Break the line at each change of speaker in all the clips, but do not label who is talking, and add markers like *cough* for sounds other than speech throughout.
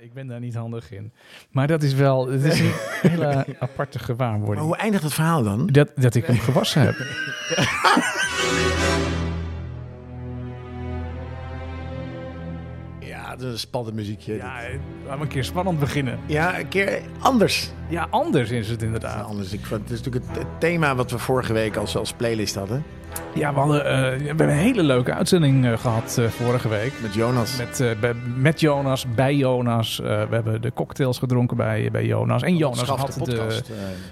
ik ben daar niet handig in. Maar dat is wel, het is een hele
*laughs*
aparte
Maar
gewaarwording.
hoe eindigt het verhaal dan?
Dat, dat ik hem gewassen heb.
Ja, dat is een spannend muziekje.
Ja, eh, laat me een keer spannend beginnen.
Ja, een keer anders.
Ja, anders is het inderdaad.
Anders. Ik, vond- het is natuurlijk het, het thema wat we vorige week als, als playlist hadden.
Ja, we, hadden, eh, we hebben een hele leuke uitzending eh, gehad eh, vorige week.
Met Jonas.
Met, eh, bij- met Jonas, bij Jonas. Eh, we hebben de cocktails gedronken bij, bij Jonas. En Jonas
Schaf
had
Oh, de podcast.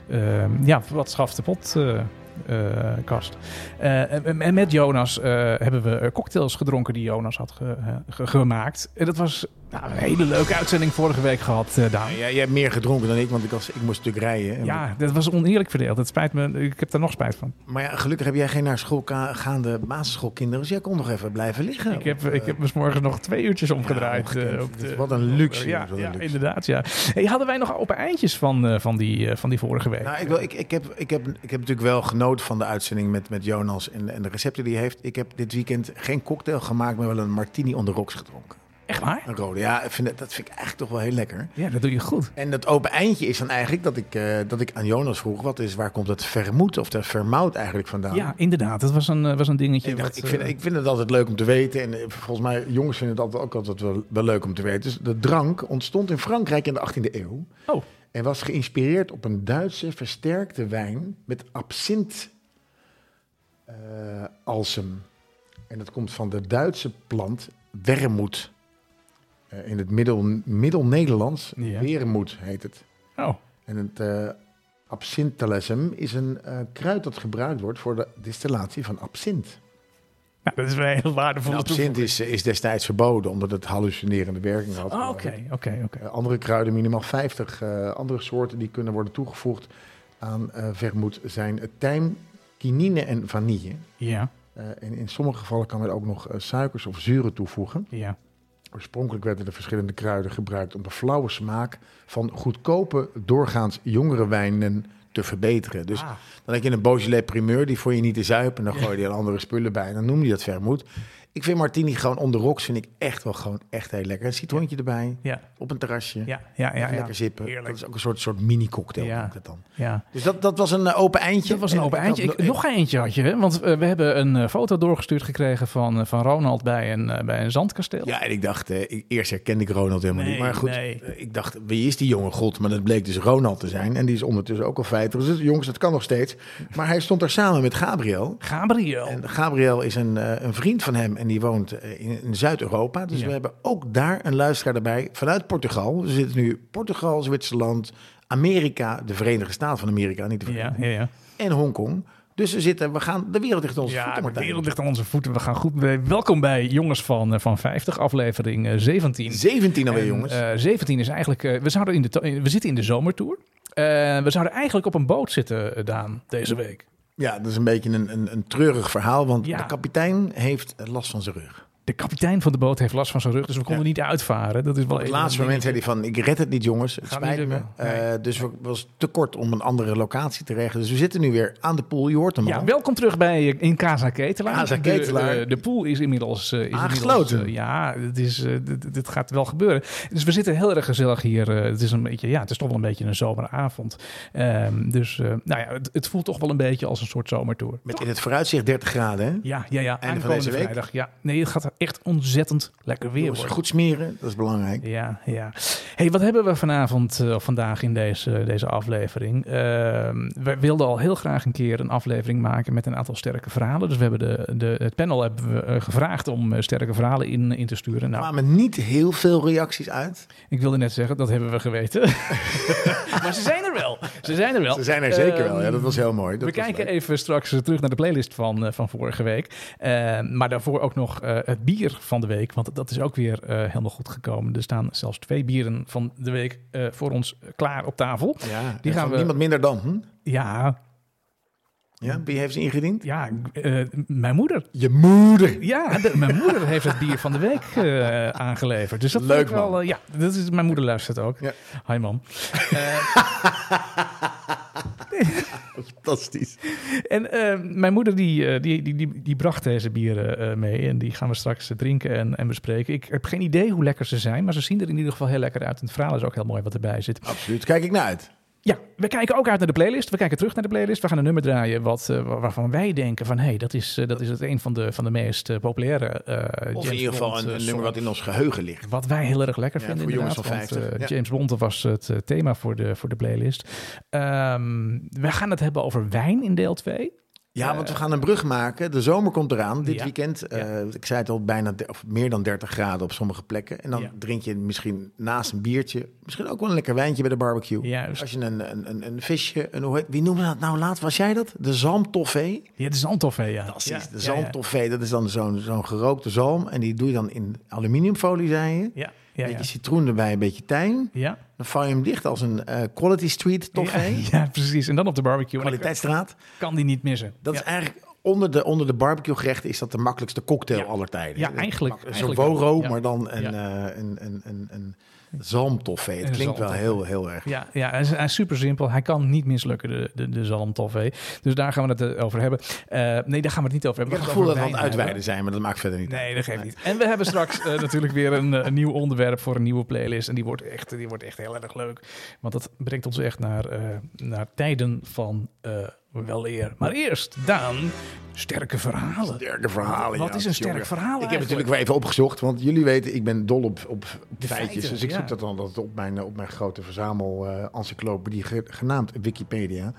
eh,
Ehm, ja, wat schaft de pot. eh, eh, kast. Eh, en, en met Jonas eh, hebben we eh, cocktails gedronken die Jonas had ge- eh, ge- gemaakt. En dat was nou, een hele leuke uitzending vorige week gehad, eh Daan.
jij, jij hebt meer gedronken dan ik, want ik, was, ik moest natuurlijk rijden. En-
Ja, dat was oneerlijk verdeeld. Dat spijt me. Ik heb daar nog spijt van.
Maar ja, gelukkig heb jij geen naar school ka- gaande basisschoolkinderen. Dus jij kon nog even blijven liggen.
Ik heb, ik heb me 's morgens nog twee uurtjes omgedraaid.
ongekend.
eh, op de-
Wat eh, een luxe,
Ja,
wat een
ja,
luxe.
inderdaad. Ja. Hey, hadden wij nog open eindjes van, eh, van, die, eh, van die vorige week?
Nou, ik, wil, ik, ik, heb, ik, heb, ik heb natuurlijk wel genoten van de uitzending met, met Jonas en, en de recepten die hij heeft. Ik heb dit weekend geen cocktail gemaakt, maar wel een martini on the rocks gedronken.
Echt waar?
Een rode. Ja, ik vind, het- dat vind ik eigenlijk toch wel heel lekker.
Ja, dat doe je goed.
En dat open eindje is dan eigenlijk dat ik, eh, dat ik aan Jonas vroeg: wat is, waar komt dat vermoed of dat vermout eigenlijk vandaan?
Ja, inderdaad. Dat was een, eh, was een dingetje.
Ik, dacht,
wat,
ik, vind,
eh,
ik vind het altijd leuk om te weten. En eh, volgens mij, jongens vinden het altijd ook altijd wel, wel leuk om te weten. Dus de drank ontstond in Frankrijk in de 18e eeuw.
Oh.
En was geïnspireerd op een Duitse versterkte wijn met absint eh, alsem. En dat komt van de Duitse plant wermoed. Eh, in het middel, middel-Nederlands,
Ja.
wermoed heet het.
Oh.
En het eh absinthalesum is een eh, kruid dat gebruikt wordt voor de distillatie van absint.
Nou, dat is wel een heel waardevolle
Nou,
toevoeging.
absint is, is destijds verboden omdat het hallucinerende werking had.
Oh, Oké, oké, oké.
Eh, Andere kruiden, minimaal 50 eh, andere soorten die kunnen worden toegevoegd aan eh vermoed zijn eh, tijm, kinine en vanille.
Ja,
Eh, en in sommige gevallen kan men ook nog eh, suikers of zuren toevoegen.
ja.
Oorspronkelijk werden de verschillende kruiden gebruikt om de flauwe smaak van goedkope, doorgaans jongere wijnen te verbeteren. Dus
Ah.
dan heb je een Beaujolais primeur, die voor je niet te zuipen. En dan gooi je er andere spullen bij en dan noem je dat vermoed. Ik vind martini gewoon on the rocks, vind ik echt wel gewoon echt heel lekker. Een citroentje erbij,
Ja,
op een terrasje,
ja, ja, ja.
even
ja.
lekker zippen.
Heerlijk.
Dat is ook een soort, soort mini-cocktail.
Ja.
noem ik dat dan.
ja.
Dus dat, dat was een eh, open eindje.
Dat was een
En
open
ik
eindje.
had
Ik- nog eentje had je, hè? want eh, we hebben een eh, foto doorgestuurd gekregen van, eh, van Ronald bij een, eh, bij een zandkasteel.
Ja, en ik dacht, eh, ik- eerst herkende ik Ronald helemaal
Nee,
niet. Maar goed,
nee.
eh, ik dacht, wie is die jonge god? Maar dat bleek dus Ronald te zijn. En die is ondertussen ook al 50. Dus jongens, dat kan nog steeds. Maar hij stond daar samen met Gabriel.
Gabriel.
En Gabriel is een, eh, een vriend van hem en die woont eh, in, in Zuid-Europa. Dus
Ja.
we hebben ook daar een luisteraar erbij vanuit Portugal. Er zitten nu Portugal, Zwitserland, Amerika, de Verenigde Staten van Amerika, niet
ja,
de Verenigde
ja, ja.
en Hongkong. Dus we zitten, we gaan de wereld dichter onze voeten,
Ja, de
Martijn.
wereld ligt aan onze voeten. We gaan goed. mee. Welkom bij Jongens van, eh, van 50, aflevering eh, 17.
17 alweer,
En,
nou jongens.
eh, 17 is eigenlijk. eh, we, zouden in de to- we zitten in de zomertour. Eh, we zouden eigenlijk op een boot zitten, eh, Daan, deze week.
Ja, dat is een beetje een, een, een treurig verhaal, want
Ja.
de kapitein heeft eh, last van zijn rug.
De kapitein van de boot heeft last van zijn rug, dus we konden
Ja.
niet uitvaren. Dat is wel
Op het
even
laatste
een
moment zei hij van, ik red het niet jongens, het
Gaat
spijt
niet
me.
lukken. Nee.
Eh, dus we was te kort om een andere locatie te regelen. Dus we zitten nu weer aan de pool, je hoort hem
dingetje.
al.
Ja, welkom terug bij eh, in Casa Ketelaar.
Casa
De- eh,
Ketelaar.
De, de pool is inmiddels eh, is
Aangesloten.
inmiddels, eh, ja, dit, is, eh, dit, dit gaat wel gebeuren. Dus we zitten heel erg gezellig hier. eh, het is een beetje, ja, het is toch wel een beetje een zomeravond. Ehm, dus, eh, nou ja, het, het voelt toch wel een beetje als een soort zomertour.
Met in het vooruitzicht 30 graden, hè?
Ja, ja, ja.
Einde van
Aankomende
deze week.
vrijdag. Ja. Nee, het gaat echt ontzettend lekker weer
Jongens,
worden.
goed smeren, dat is belangrijk.
Ja, ja. hey, wat hebben we vanavond eh, of vandaag in deze, deze aflevering? Ehm, we wilden al heel graag een keer een aflevering maken met een aantal sterke verhalen. Dus we hebben de, de, het panel hebben we, eh, gevraagd om eh, sterke verhalen in, in te sturen.
Er
Nou,
kwamen niet heel veel reacties uit.
ik wilde net zeggen, dat hebben we
*laughs*
geweten. *laughs* maar ze zijn er wel. Ze zijn er wel.
Ze zijn er zeker wel, ja,
Ehm,
dat was heel mooi. Dat
we
was
kijken
leuk.
even straks eh, terug naar de playlist van, eh, van vorige week. Eh, maar daarvoor ook nog eh, het bier van de week. Want dat is ook weer eh, helemaal goed gekomen. Er staan zelfs twee bieren van de week eh, voor ons klaar op tafel.
Ja,
die
die
gaan
gaan
we-
niemand minder dan. Hm?
Ja, Hm.
Ja, wie heeft ze ingediend?
ja eh, mijn moeder.
Je moeder.
Ja, de- mijn
*laughs*
moeder heeft het bier van de week eh, aangeleverd. Dus dat
Leuk,
vind ik wel.
man.
eh, ja, dat is, mijn moeder luistert ook.
Ja.
Hi, mam. Eh,
Fantastisch.
En eh, mijn moeder die, eh, die, die, die, die bracht deze bieren eh, mee. En die gaan we straks eh, drinken en, en bespreken. Ik heb geen idee hoe lekker ze zijn. Maar ze zien er in ieder geval heel lekker uit. En het verhaal is ook heel mooi wat erbij zit.
Absoluut. Kijk ik naar uit.
Ja, we kijken ook uit naar de playlist. We kijken terug naar de playlist. We gaan een nummer draaien wat, eh, wa- waarvan wij denken van... hé, hey, dat, is, eh, dat is het een van de, van de meest eh, populaire eh
Of in
James
ieder geval
Bond,
een,
eh,
een nummer
songs.
wat in ons geheugen ligt.
Wat wij heel erg lekker
Ja,
vinden.
voor jongens
inderdaad,
van
want,
50,
eh,
ja.
James Bond was het eh, thema voor de, voor de playlist. Ehm, we gaan het hebben over wijn in deel 2.
Ja, want we gaan een brug maken. De zomer komt eraan dit
Eh, Ja.
weekend. Eh, ik zei het al, bijna de- of meer dan 30 graden op sommige plekken. En dan
Ja.
drink je misschien naast een biertje, misschien ook wel een lekker wijntje bij de barbecue.
Juist.
Als je een, een, een, een visje, een, hoe heet- wie noemde dat nou laat? Was jij dat? De zalmtoffee?
Ja, het is Antoffee, ja.
Precies,
Ja,
de
ja, ja.
zalmtoffee. Dat is dan zo'n zo'n gerookte zalm. En die doe je dan in aluminiumfolie, zei je.
Ja, ja,
Een
ja.
beetje citroen erbij, een beetje tijm.
Ja.
Dan vouw je hem dicht als een eh, Quality Street toffee.
*laughs* Ja, ja, precies. En dan op de barbecue. En ik
Kwaliteitsstraat.
kan die niet missen.
Dat
ja.
is eigenlijk onder de, onder de barbecue gerechten is dat de makkelijkste cocktail
Ja.
aller tijden.
Ja,
Dat
eigenlijk-
mak- Zo'n
eigenlijk
woro,
wel. Ja.
maar dan een,
Ja.
eh, een, een, een, een zalmtoffee. Het
Een
klinkt wel
zalmtoffee.
heel, heel erg.
Ja, ja hij, is, hij is super simpel. Hij kan niet mislukken, de, de, de zalmtoffee. Dus daar gaan we het eh, over hebben. Eh, nee, daar gaan we het niet over
Ik
hebben.
heb
We gaan
het gevoel dat we
over
aan het
wijn
uitweiden zijn, maar dat maakt verder niet
hebben. Nee, dat geeft niet. En we hebben straks eh, natuurlijk weer een, eh, een nieuw onderwerp voor een nieuwe playlist. En die wordt echt, die wordt echt heel erg leuk. Want dat brengt ons echt naar, eh, naar tijden van eh weleer. Maar eerst, Daan, sterke verhalen.
Sterke verhalen.
Wat
ja,
is een sterk
jongen.
verhaal
Ik
Nou,
heb
eigenlijk?
natuurlijk wel even opgezocht, want jullie weten, ik ben dol op, op feitjes.
feiten,
dus ik zoek
ja.
dat dan altijd op mijn, eh, op mijn grote verzamel eh, encyclopedie ge- genaamd Wikipedia.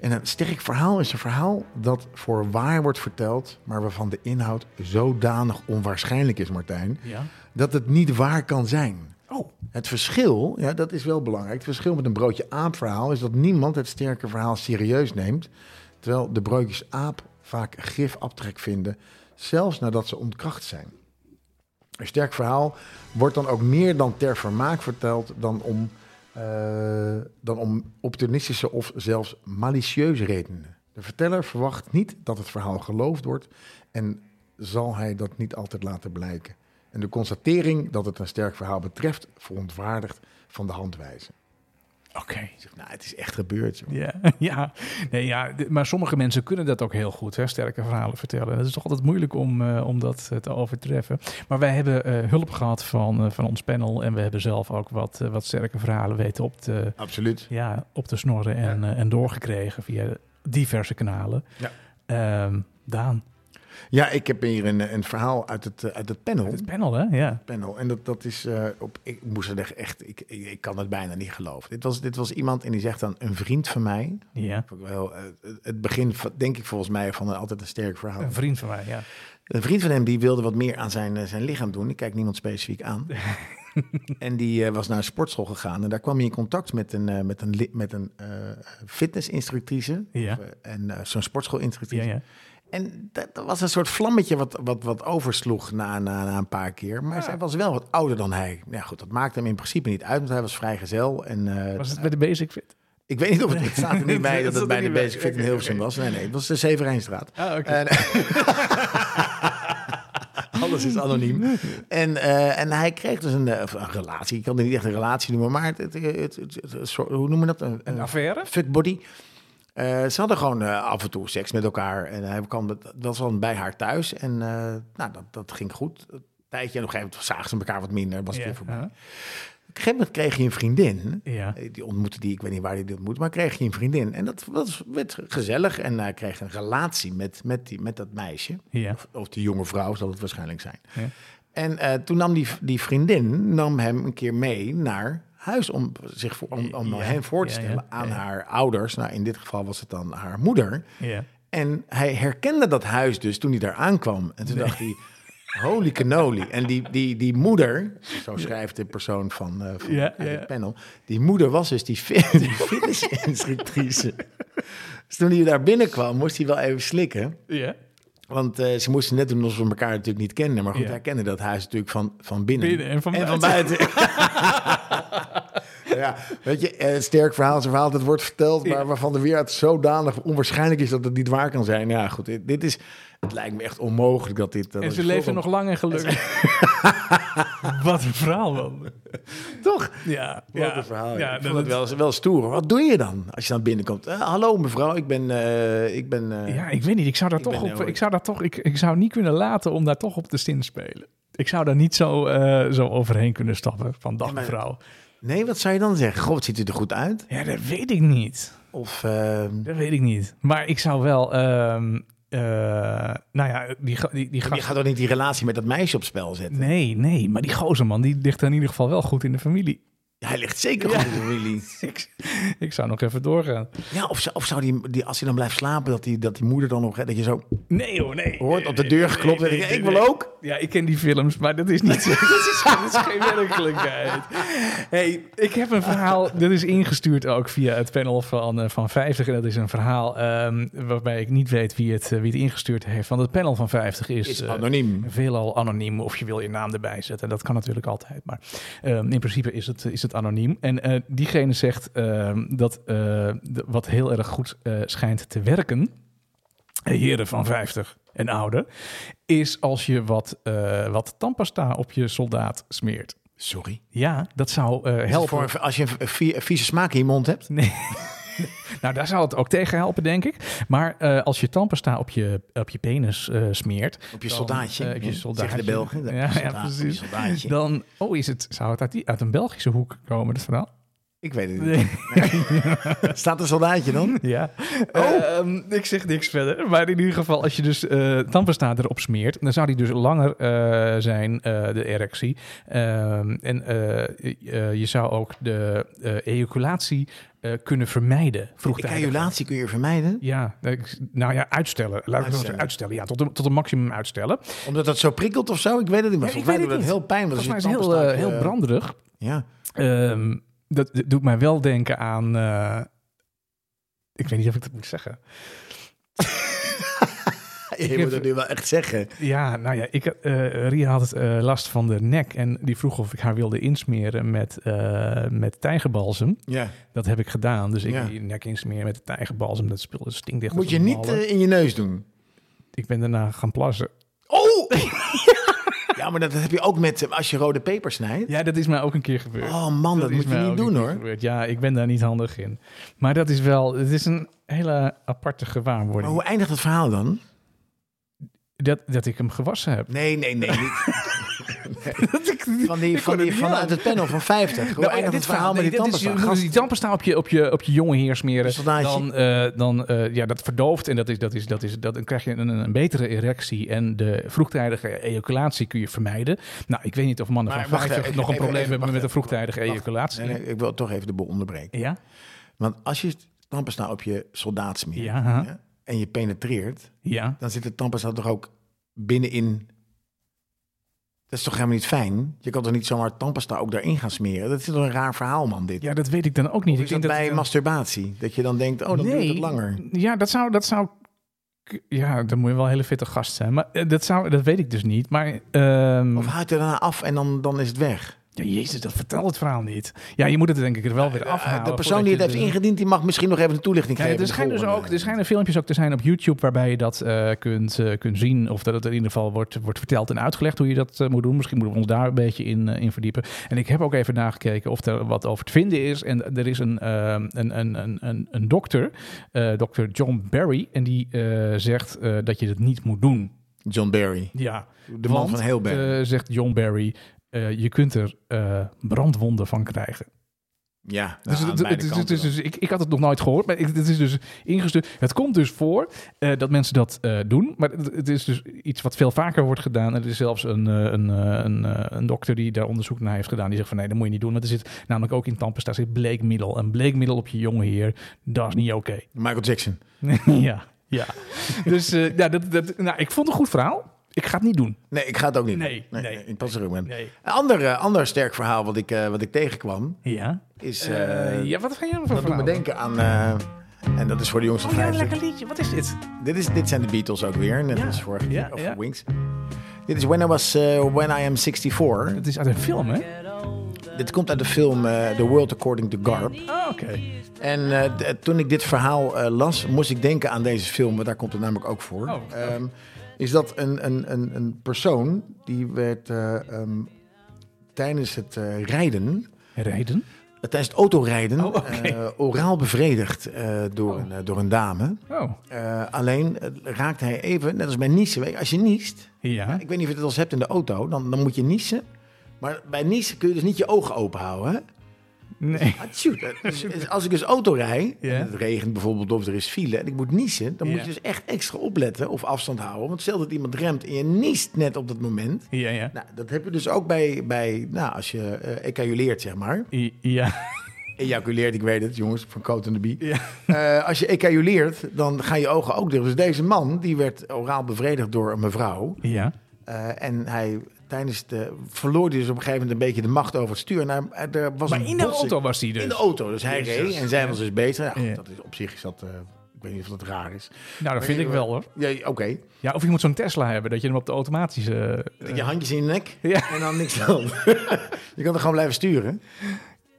En een sterk verhaal is een verhaal dat voor waar wordt verteld, maar waarvan de inhoud zodanig onwaarschijnlijk is, Martijn,
Ja.
dat het niet waar kan zijn.
Oh,
Het verschil, ja, dat is wel belangrijk. Het verschil met een broodje aap verhaal is dat niemand het sterke verhaal serieus neemt. Terwijl de broodjes aap vaak gif aftrek vinden, zelfs nadat ze ontkracht zijn. Een sterk verhaal wordt dan ook meer dan ter vermaak verteld dan om, eh, dan om opportunistische of zelfs malicieuze redenen. De verteller verwacht niet dat het verhaal geloofd wordt en zal hij dat niet altijd laten blijken. En de constatering dat het een sterk verhaal betreft verontwaardigt van de handwijze.
oké.
Je zegt, nou, het is echt gebeurd. joh.
Ja, *laughs* ja. Nee, ja, d- maar sommige mensen kunnen dat ook heel goed, hè, sterke verhalen vertellen. Het is toch altijd moeilijk om, eh, om dat eh, te overtreffen. Maar wij hebben eh, hulp gehad van, eh, van ons panel en we hebben zelf ook wat, eh, wat sterke verhalen weten op te,
Absoluut.
ja, op te snorren en, eh, en doorgekregen via diverse kanalen.
Ja.
Ehm, Daan,
Ja, ik heb hier een, een verhaal uit het, eh, uit het panel.
het panel hè? Ja.
panel. En dat, dat is, eh, op, ik moest het echt- echt, ik, ik, ik kan het bijna niet geloven. Dit was, dit was iemand en die zegt dan, een vriend van mij.
ja.
Vond ik Wel, eh, het begin, van- denk ik volgens mij, van een, altijd een sterk verhaal.
Een vriend van mij, ja.
Een vriend van hem die wilde wat meer aan zijn, eh, zijn lichaam doen. Ik kijk niemand specifiek
*laughs*
aan. en die eh, was naar een sportschool gegaan. En daar kwam hij in contact met een, eh, met een, li- met een eh, fitnessinstructrice.
Ja.
Of, eh, en eh, zo'n sportschoolinstructrice.
ja, ja.
En dat, dat was een soort vlammetje wat, wat, wat oversloeg na, na, na een paar keer. Maar zij was wel wat ouder dan hij. Nou Ja, goed, dat maakte hem in principe niet uit, want hij was vrijgezel. En, eh,
Was het bij de Basic Fit?
Ik weet niet of het, het staat er niet bij dat
*laughs* Dat
het
staat
bij
er
de
niet bij.
Basic Fit in
Oké,
Hilversum
oké.
was. Nee, nee, het was de Severijnstraat.
Ah, oké.
En- eh, *laughs* Alles is anoniem. En, eh, en hij kreeg dus een, eh, of een relatie. Ik kan het niet echt een relatie noemen, maar het, het, het, het- het- het- soort- hoe noemen we dat? Een,
Eh, Een affaire?
Fit body. Eh, ze hadden gewoon eh, af en toe seks met elkaar. En hij kwam, dat was dan bij haar thuis. En eh, nou, dat, dat ging goed. Een tijdje. En op een gegeven moment zagen ze elkaar wat minder. Was het
Ja,
weer voorbij.
ja.
Op een gegeven moment kreeg je een vriendin.
Ja.
Eh, Die ontmoette die, ik weet niet waar hij die ontmoette, maar kreeg je een vriendin. En dat was, werd gezellig. En hij kreeg een relatie met, met, die, met dat meisje.
Ja.
Of, of die jonge vrouw zal het waarschijnlijk zijn.
Ja.
En eh, toen nam die, die vriendin nam hem een keer mee naar huis om zich voor, om, om
Ja,
hem voor te
ja, ja,
stellen aan
ja.
haar ouders. Nou, in dit geval was het dan haar moeder.
Ja.
En hij herkende dat huis dus toen hij daar aankwam. En toen dacht hij, holy cannoli. En die, die, die moeder, zo schrijft de persoon van, eh van
Ja,
uit
ja, ja.
het panel... die moeder was dus die, fi- *laughs* die fitnessinstructrice. dus toen hij daar binnenkwam, moest hij wel even slikken.
Ja.
Want eh, ze moesten net doen alsof we elkaar natuurlijk niet kenden. Maar goed,
Ja. *laughs*
*laughs* hij kende dat huis natuurlijk van, van binnen.
Binnen en van
buiten. ja, ja, weet je, eh, sterk verhaal is een verhaal dat wordt verteld, maar waarvan de weerheid zodanig onwaarschijnlijk is dat het niet waar kan zijn. Ja, goed, dit, dit is, het lijkt me echt onmogelijk dat dit. dat
En
het
ze leefden nog
voorkomt.
lang en gelukkig. *laughs* Wat een verhaal, man.
Toch?
Ja,
Wat
ja,
een
Ja,
verhaal. Ja,
dat
ik vond het
wel.
wel, wel stoer. hoor. Wat doe je dan als je dan binnenkomt? Eh, hallo mevrouw, ik ben... eh, ik ben eh,
ja, ik weet niet. Ik zou daar
Ik
toch
ben nou
op.
heel-
Ik zou daar toch. Ik, ik zou niet kunnen laten om daar toch op te stin spelen. Ik zou daar niet zo, eh, zo overheen kunnen stappen van dag
maar-
mevrouw.
Nee, wat zou je dan zeggen? Goh, wat ziet u er goed uit?
Ja, dat weet ik niet.
Of... eh,
Dat weet ik niet. Maar ik zou wel. ehm, eh, nou ja, die, ga- die, die
je
gast.
gaat toch niet die relatie met dat meisje op spel zetten?
Nee, nee, maar die gozerman die ligt in ieder geval wel goed in de familie. *laughs*
Hij ligt zeker goed in de familie.
Ik, ik zou nog even doorgaan.
Ja, of, zou- of zou die, die, als hij dan blijft slapen, dat die, dat die moeder dan nog... hè, Dat je zo
Nee hoor, nee.
hoort op de deur geklopt en denkt, ik wil ook.
Ja, ik ken die films, maar dat is niet zo. *laughs* dat, is, dat is geen *laughs* werkelijkheid. hey, ik heb een verhaal, dat is ingestuurd ook via het panel van, eh, van 50. En dat is een verhaal ehm, waarbij ik niet weet wie het, eh, wie het ingestuurd heeft. Want het panel van 50 is,
Is
eh,
anoniem.
veelal anoniem. Of je wil je naam erbij zetten. Dat kan natuurlijk altijd. Maar ehm, in principe is het, is het anoniem. En eh, diegene zegt ehm, dat eh, de- wat heel erg goed eh, schijnt te werken eh, heren van 50 en ouder, is als je wat, eh, wat tandpasta op je soldaat smeert.
Sorry.
Ja, dat zou eh, helpen.
Voor, voor- als je een vie- een vieze smaak in je mond hebt.
Nee. nou, daar zou het ook tegen helpen, denk ik. Maar eh, als je tandpasta op je, op je penis eh, smeert...
Op je
dan,
soldaatje.
eh, op je
Ja,
soldaatje.
Zeggen de Belgen.
Ja,
De
ja,
soldaat, op je
precies.
soldaatje.
Dan, oh, is het, zou het uit, die, uit een Belgische hoek komen, dat verhaal?
Ik weet het niet.
Nee.
*laughs* Staat een soldaatje dan?
Ja.
Oh.
Ehm, ik zeg niks verder. Maar in ieder geval, als je dus eh tandpasta erop smeert, dan zou die dus langer eh, zijn, eh, de erectie. Ehm, en eh, eh, je zou ook de eh, ejaculatie eh, kunnen vermijden. Vroegtijdig.
Ejaculatie kun je vermijden.
Ja, ik- nou ja, uitstellen. Laat ik het
Uitstellen.
zeggen, uitstellen. Ja, tot een, tot een maximum uitstellen.
Omdat dat zo prikkelt of zo? Ik weet het niet. Maar
Ja, ik
volgens mij
weet
doet dat
het
heel pijn. want als
Volgens mij is het
je
heel, eh,
tandpasta-
heel
eh,
branderig.
Ja.
Ehm, dat, dat doet mij wel denken aan. eh, ik weet niet of ik dat moet zeggen.
*laughs* Je moet het nu wel echt zeggen.
Ja, nou ja, ik, eh, Ria had eh, last van de nek en die vroeg of ik haar wilde insmeren met, eh, met tijgerbalsem.
Ja.
Dat heb ik gedaan, dus ik
Ja.
die nek insmeren met de tijgerbalsem. Dat spul dat stinkt dicht.
Moet
als
je
een
niet
malle.
eh, in je neus doen.
Ik ben daarna gaan plassen.
Oh! *laughs* ja, maar dat heb je ook met eh, als je rode peper snijdt.
Ja, dat is mij ook een keer gebeurd.
Oh man, dat,
is
moet je
mij ook
niet
een
doen
keer
hoor.
gebeurd. Ja, ik ben daar niet handig in. Maar dat is wel, het is een hele aparte
Maar
gewaarwording.
hoe eindigt het verhaal dan?
dat, dat ik hem gewassen heb.
Nee, nee, nee. niet.
*laughs* Dat ik-
Van die,
Ik
van
kon er
die,
niet
vanuit het panel van 50. Hoe
Nou,
eindigt
dit
het verhaal met
nee,
die
dit is- je
tandpasta?
moet
Gast,
dus die tandpasta op je, op je, op je jonge heer smeren.
Een soldaatje.
Dan, eh, dan eh, ja, dat verdooft en dat is, dat is, dat is, dat, dan krijg je een, een betere erectie. En de vroegtijdige ejaculatie kun je vermijden. Nou, ik weet niet of mannen
Maar
van
wacht
50
even,
nog een
even,
probleem
even,
hebben met de
wacht
vroegtijdige
wacht.
ejaculatie.
Nee, nee, ik wil toch even de boel onderbreken.
Ja?
Want als je tandpasta op je soldaat smeert
Ja.
hè, en je penetreert,
Ja.
dan zit de tandpasta toch ook binnenin. Dat is toch helemaal niet fijn? Je kan toch niet zomaar tandpasta ook daarin gaan smeren? Dat is toch een raar verhaal, man, dit.
ja, dat weet ik dan ook niet.
Of
ik
is dat
denk
bij
het een-
masturbatie? Dat je dan denkt, oh, dan duurt het langer.
Ja, dat zou, dat zou. Ja, dan moet je wel een hele fitte gast zijn. Maar eh, dat, zou, dat weet ik dus niet. Maar, ehm,
Of houdt het daarna af en dan, dan is het weg.
Ja, jezus, dat vertelt het verhaal niet. Ja, je moet het denk ik er wel weer afhalen.
Eh, de persoon
voordat
die
je
het heeft
de-
ingediend, die mag misschien nog even een eh, toelichting
Ja,
geven.
er,
in de
schijnen dus
volgende.
ook, er schijnen filmpjes ook te zijn op YouTube waarbij je dat eh, kunt, eh, kunt zien. Of dat het in ieder geval wordt, wordt verteld en uitgelegd hoe je dat eh, moet doen. Misschien moeten we ons daar een beetje in, eh, in verdiepen. En ik heb ook even nagekeken of er wat over te vinden is. En er is een, ehm, een, een, een, een, een dokter, eh dokter John Barry. En die eh, zegt eh, dat je dat niet moet doen.
John Barry,
Ja,
de man
want,
van Heelberg.
eh, zegt John Barry, eh, je kunt er eh, brandwonden van krijgen.
ja,
Dus,
nou, aan
het-
beide
het is-
kanten
het is dus- ik, ik had het nog nooit gehoord, maar ik, het is dus ingestuurd. Het komt dus voor eh, dat mensen dat eh, doen, maar het, het is dus iets wat veel vaker wordt gedaan. En er is zelfs een, eh, een, eh, een, eh, een dokter die daar onderzoek naar heeft gedaan, die zegt van nee, dat moet je niet doen, want er zit namelijk ook in tandpasta zit bleekmiddel. En bleekmiddel op je jonge heer, dat is niet oké.
*laughs* dan. Michael Jackson.
ja, ja. dus eh, ja, dat, dat, nou, ik vond het een goed verhaal. Ik ga het niet doen.
Nee, ik ga het ook niet. doen.
Nee, nee.
ik pas er ook mee.
Nee.
Een ander, eh, ander sterk verhaal wat ik, eh, wat ik tegenkwam
Ja.
is. eh
Eh, ja, wat ga je nou
dat
voor
doet me
verhaal?
denken aan. eh, en dat is voor de jongens van
Oh ja, een
50.
lekker liedje. Wat is dit?
dit, is, dit zijn de Beatles ook weer, net
Ja,
als vorige
ja,
keer. Of
ja.
Wings. Dit is When I Was eh, When I Am 64.
Het is uit een film, hè?
Dit komt uit de film eh, The World According to Garp.
Ah, oké.
En eh, d- eh, toen ik dit verhaal eh, las, moest ik denken aan deze film, want daar komt het namelijk ook voor.
Oh, oké.
Ehm, is dat een, een, een, een persoon die werd eh, ehm, tijdens het eh, rijden,
Reden?
eh, tijdens het autorijden,
Oh, oké.
eh, oraal bevredigd eh, door,
Oh.
een, eh, door een dame.
Oh,
Eh, alleen eh, raakte hij even, net als bij niezen, weet je, als je niest,
ja.
ik weet niet of je het al eens hebt in de auto, dan, dan moet je niezen. Maar bij niezen kun je dus niet je ogen open houden. Hè? *laughs*
Nee.
Ah, shoot. Eh, dus- dus als ik dus auto rij,
Ja.
en het regent bijvoorbeeld of er is file en ik moet niezen, dan moet
Ja.
je dus echt extra opletten of afstand houden. Want stel dat iemand remt en je niest net op dat moment.
Ja, ja.
Nou, dat heb je dus ook bij, bij nou, als je eh ejaculeert, zeg maar.
I- Ja.
Ejaculeert, ik weet het, jongens, van Coat en de Bie.
Ja.
Eh, als je ejaculeert, dan gaan je ogen ook dicht. Dus deze man, die werd oraal bevredigd door een mevrouw.
Ja.
Eh, en hij tijdens de, verloor hij dus op een gegeven moment een beetje de macht over het stuur. En hij- hij- er was
Maar
een
in de
botsing.
auto was hij dus.
In de auto. Dus hij
Jezus.
reed en zij was dus bezig. Nou, goed,
Ja.
dat is op zich is dat. eh, ik weet niet of dat raar is.
Nou, dat vind ik wel hoor.
Ja, oké.
Ja, of je moet zo'n Tesla hebben, dat je hem op de automatische... eh,
Je handjes in je nek
Ja.
en dan
*laughs*
niks aan. *laughs* je kan er gewoon blijven sturen.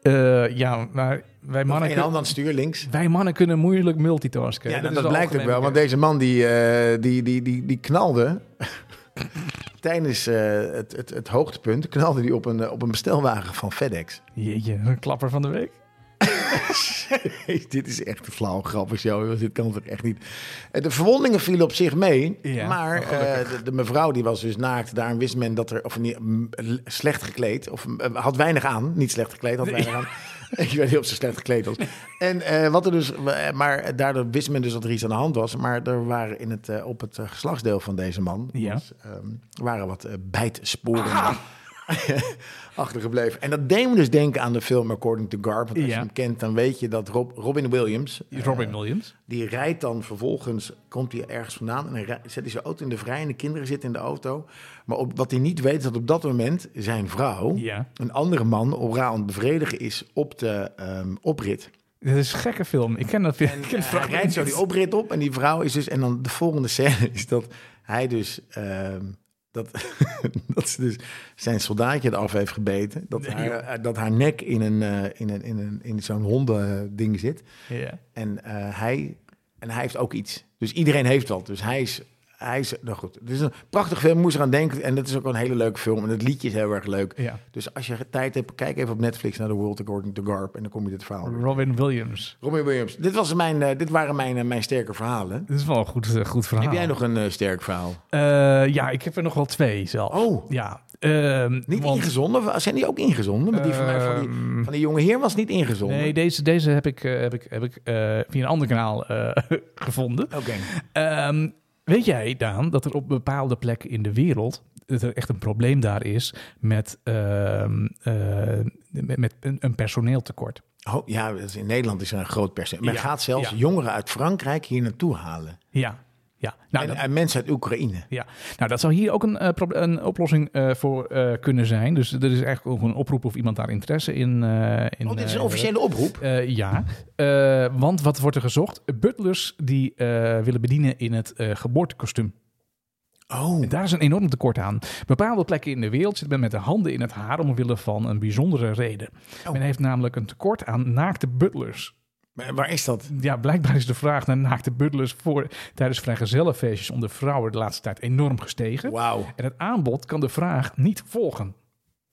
eh, ja, maar wij
Eén
mannen,
hand aan
kun-
het stuur links.
wij mannen kunnen moeilijk multitasken.
Ja, nou,
is
dat
de
blijkt ook
algemene
wel. Want
kennis.
deze man die, eh, die, die, die, die knalde. *laughs* tijdens eh, het, het, het hoogtepunt knalde die op een, eh, op een bestelwagen van FedEx.
Jeetje, een klapper van de week.
*laughs* dit is echt een flauw grappig show. jongens. Dit kan toch echt niet. Eh, De verwondingen vielen op zich mee.
Ja,
maar
oh, gelukkig.
eh, de, de mevrouw die was dus naakt. Daarom wist men dat er. Of niet, m, l- slecht gekleed. Of m, eh, had weinig aan. Niet slecht gekleed, had weinig aan. *laughs* Ik weet niet of ze slecht gekleed was. En eh, wat er dus. eh, Maar daardoor wist men dus dat er iets aan de hand was. Maar er waren in het, eh, op het eh, geslachtsdeel van deze man.
Ja. Ah!
was, ehm, waren wat eh, bijtsporen. *laughs* Achtergebleven. En dat deed me dus denken aan de film According to Garp. Want als
Ja.
je hem kent, dan weet je dat Rob, Robin Williams, eh,
Robin Williams.
die rijdt dan vervolgens, komt hij ergens vandaan en hij rij- zet hij zijn auto in de vrij en de kinderen zitten in de auto. Maar op, wat hij niet weet is dat op dat moment zijn vrouw,
Ja.
een andere man, oraal aan het bevredigen is op de ehm, oprit.
Dit is een gekke film. Ik ken dat film. ik ken
En eh,
het
hij
verhaal
rijdt zo
niet.
die oprit op en die vrouw is dus... En dan de volgende scène is dat hij dus... ehm, dat, *laughs* dat ze dus zijn soldaatje eraf heeft gebeten. Dat,
Nee,
haar, eh, dat haar nek in, een, eh, in, een, in, een, in zo'n hondending zit.
Ja.
En, eh, hij, en hij heeft ook iets. Dus iedereen heeft wat. Dus hij is... Hij is nou goed, het is een prachtig film, moest eraan denken. En dat is ook een hele leuke film. En het liedje is heel erg leuk.
ja.
Dus als je tijd hebt, kijk even op Netflix naar The World According to Garp. En dan kom je dit verhaal weer.
Robin Williams.
Robin Williams, dit, was mijn, eh, dit waren mijn, eh, mijn sterke verhalen.
Dit is wel een goed, eh, goed verhaal.
Heb jij nog een eh, sterk verhaal?
Eh, ja, ik heb er nog wel twee zelf.
Oh.
Ja. ehm,
Niet
want-
ingezonden? Wa- Zijn die ook ingezonden? Want die van, mij, van, die,
Ehm,
van die jonge heer was niet ingezonden.
Nee, deze, deze heb ik, eh, heb ik, heb ik eh, via een ander kanaal eh, *laughs* gevonden.
Oké.
Ehm, weet jij, Daan, dat er op bepaalde plekken in de wereld dat er echt een probleem daar is met, ehm, eh, met, met een, een personeeltekort?
Oh, ja, dat is- in Nederland is er een groot percentage. Men
Ja,
gaat zelfs
ja.
jongeren uit Frankrijk hier naartoe halen.
Ja, ja. Nou,
en, eh,
dat,
en mensen uit Oekraïne.
ja. nou, dat zou hier ook een, eh, proble- een oplossing eh, voor eh, kunnen zijn. Dus er is eigenlijk ook een oproep of iemand daar interesse in. eh in
Oh, dit is een
eh,
officiële oproep.
Eh, ja, Eh, want wat wordt er gezocht? Butlers die eh, willen bedienen in het eh geboortekostuum.
Oh,
En daar is een enorm tekort aan. Bepaalde plekken in de wereld zit men met de handen in het haar omwille van een bijzondere reden.
Oh.
Men heeft namelijk een tekort aan naakte butlers.
maar waar is dat?
Ja, blijkbaar is de vraag naar naakte butlers voor tijdens vrijgezellenfeestjes onder vrouwen de laatste tijd enorm gestegen.
Wauw.
En het aanbod kan de vraag niet volgen.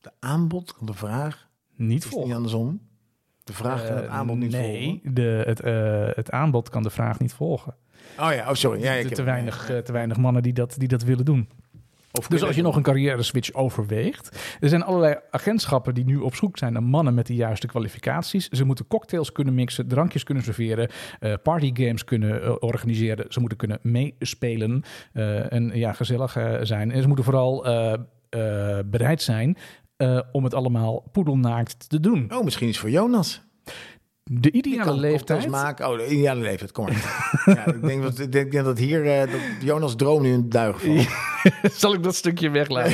De aanbod, de vraag,
Niet
is het
volgen.
niet andersom. De vraag kan het
Eh,
aanbod niet
nee, de, het, eh, het aanbod kan de vraag niet volgen.
volgen. Oh ja, oh sorry. Ja, ik
te,
heb-
te weinig, eh, te weinig mannen die dat, die dat willen doen.
Of
Dus als je nog een carrière switch overweegt. Er zijn allerlei agentschappen die nu op zoek zijn naar mannen met de juiste kwalificaties. Ze moeten cocktails kunnen mixen, drankjes kunnen serveren, eh, partygames kunnen eh, organiseren. Ze moeten kunnen meespelen eh, en ja, gezellig eh, zijn. En ze moeten vooral eh, eh, bereid zijn eh, om het allemaal poedelnaakt te doen.
Oh, misschien is het voor Jonas.
De
Die
ideale
kan cocktails
leeftijd.
maken. Oh, de ideale leeftijd, kom maar.
*laughs*
ja, ik, denk dat, ik denk dat hier eh, dat Jonas droom nu in het duigen valt.
Zal ik dat stukje *laughs* weglaten?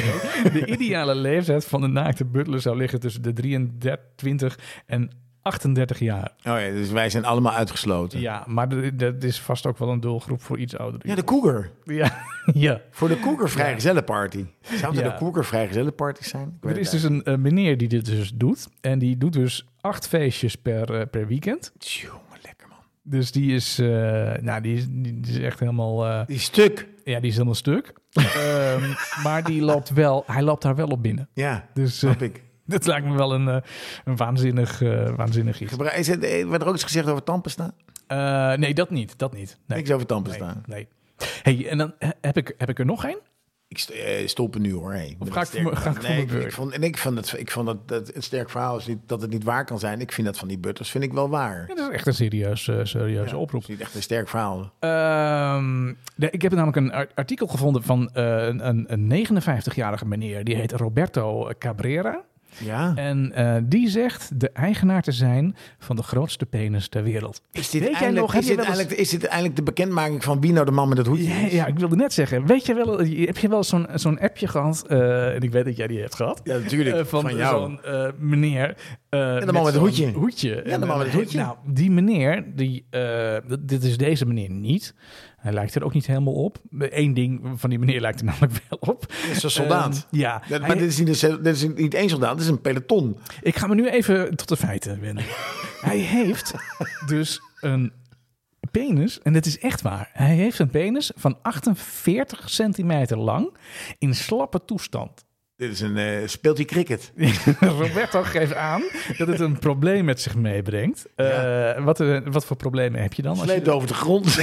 De ideale leeftijd van de naakte butler zou liggen tussen de 23 en 38 jaar.
Oh ja, dus wij zijn allemaal uitgesloten.
Ja, maar d- dat is vast ook wel een doelgroep voor iets ouder.
Ja, de Cougar. *laughs*
ja, ja.
Voor de Cougar Vrijgezellenparty. Zou het
Ja.
de Cougar Vrijgezellenparty zijn? Ik weet
Er is
het
dus een, eh, meneer die dit dus doet. En die doet dus acht feestjes per, eh, per weekend.
eigenlijk- Jongen, lekker man.
Dus die is, eh, nou, die is, die is echt helemaal, eh,
Die stuk.
ja, die is helemaal
*laughs*
stuk. Ehm, maar die loopt wel, hij loopt daar wel op binnen.
Ja,
Dus eh, *laughs*
snap ik.
dat lijkt me wel een, eh, een waanzinnig, eh, waanzinnig iets.
Gebru- Is het, eh, werd er ook iets gezegd over tandpasta?
Eh, nee, dat niet. Dat niet. Nee.
Niks over
Nee.
tandpasta.
nee. Hey, en dan he- heb ik, heb ik er nog één?
Ik st- eh, stop er nu hoor. Hey.
Of ga ik voor
Sterk-
me- ga ik voor
nee,
mijn
ik-
beurt?
ik vond, en ik vond, het, ik vond dat, dat een sterk verhaal is niet, dat het niet waar kan zijn. Ik vind dat van die butters vind ik wel waar.
Ja, dat is echt een serieus, eh, serieuze oproep.
Het is niet echt een sterk verhaal.
Ehm, nee, ik heb namelijk een ar- artikel gevonden van eh, een, een, een 59-jarige meneer. Die heet Roberto Cabrera.
Ja.
En eh, die zegt de eigenaar te zijn van de grootste penis ter wereld.
Is dit,
Weet jij
eindelijk,
nog, heb
is,
je
dit
wel eens-
eindelijk, is dit eindelijk de bekendmaking van wie nou de man met het hoedje
Ja,
is?
ja, ik wilde net zeggen. Weet je wel, heb je wel eens zo'n zo'n appje gehad? eh, en ik weet dat jij die hebt gehad.
Ja, natuurlijk.
eh, van
van, jou.
zo'n eh, meneer. eh,
man met het
zo'n
hoedje.
hoedje.
Ja, de man met het
eh,
hoedje.
Nou, die meneer, die, eh, d- dit is deze meneer niet. Hij lijkt er ook niet helemaal op. Eén ding van die meneer lijkt er *laughs* namelijk wel op.
is een soldaat.
Ehm, ja,
Ja, maar
Hij-
dit, is niet een, cel- dit is niet één soldaat, dit is een peloton.
ik ga me nu even tot de feiten
*laughs*
wenden. hij heeft dus een penis, en dat is echt waar. Hij heeft een penis van 48 centimeter lang in slappe toestand.
Dit is een eh, speelt hij cricket.
*laughs* Roberto geeft aan dat het een probleem met zich meebrengt. Eh, wat, eh, wat voor problemen heb je dan? Als je,
Sleept over de grond.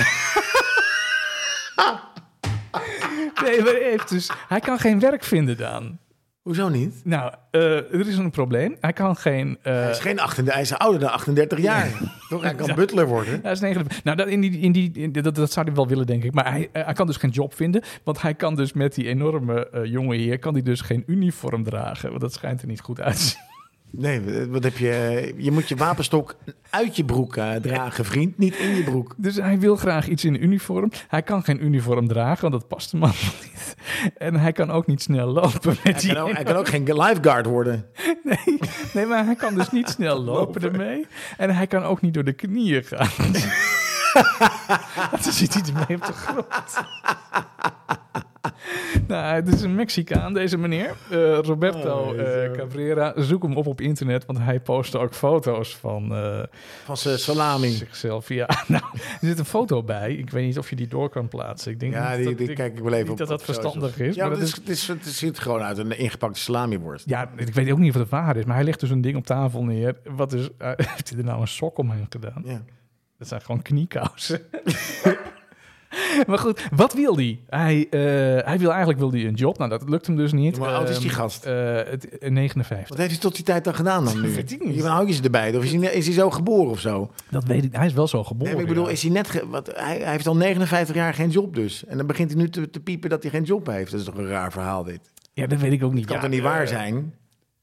nee, maar hij, heeft dus, hij kan geen werk vinden dan.
*laughs* Hoezo niet?
Nou, eh, er is een probleem. Hij kan geen... eh,
Hij is geen 38, hij is ouder dan 38 jaar. *laughs* Toch? Hij kan butler worden.
Hij is 59. Nou, dat, in die, in die, in- dat, dat zou hij wel willen, denk ik. Maar hij, eh, hij kan dus geen job vinden. Want hij kan dus met die enorme eh, jonge heer... kan hij dus geen uniform dragen. Want dat schijnt er niet goed uit te zien. *laughs*
Nee, wat heb je? Je moet je wapenstok uit je broek eh, dragen, vriend. Niet in je broek.
Dus hij wil graag iets in uniform. Hij kan geen uniform dragen, want dat past hem allemaal niet. En hij kan ook niet snel lopen met
Hij
die...
kan ook, hij kan ook geen lifeguard worden.
Nee, nee, maar hij kan dus
*laughs*
niet snel lopen ermee. En hij kan ook niet door de knieën
*laughs*
gaan. Dan zit hij ermee op de grond. *laughs* Nou, het is een Mexicaan, deze meneer. Eh, Roberto
Oh,
eh,
zo.
Cabrera. Zoek hem op op internet, want hij postte ook foto's van eh,
Van zijn salami.
zichzelf. Ja, *laughs* nou, er zit een foto bij. Ik weet niet of je die door kan plaatsen. Ik denk
Ja,
niet
die,
dat,
die
ik-
kijk ik wel even
niet
op.
dat dat
op socials.
verstandig is,
Ja,
maar
maar
dat
het, is, het, is, het ziet gewoon uit een ingepakte salamiworst.
Ja, ik weet ook niet of het waar is, maar hij legt dus een ding op tafel neer. Wat is, eh, *laughs* heeft hij er nou een sok omheen gedaan?
Ja.
Dat zijn gewoon
*laughs*
kniekousen. *laughs* maar goed, wat wil die? Hij, eh, hij wil eigenlijk wil die een job. Nou, dat lukt hem dus niet.
Maar hoe oud is die
Ehm,
gast?
eh, het, eh, 59.
Wat heeft hij tot die tijd dan gedaan dan nu?
Weet ik niet.
Je hou je ze erbij? Of is hij, is hij zo geboren of zo?
Dat weet ik. Hij is wel zo
Nee,
geboren.
maar ik bedoel,
ja.
is hij net... ge- wat, hij, hij heeft al 59 jaar geen job dus. En dan begint hij nu te, te piepen dat hij geen job heeft. Dat is toch een raar verhaal dit.
Ja, dat weet ik ook niet.
Kan
ja,
toch niet
eh,
waar zijn?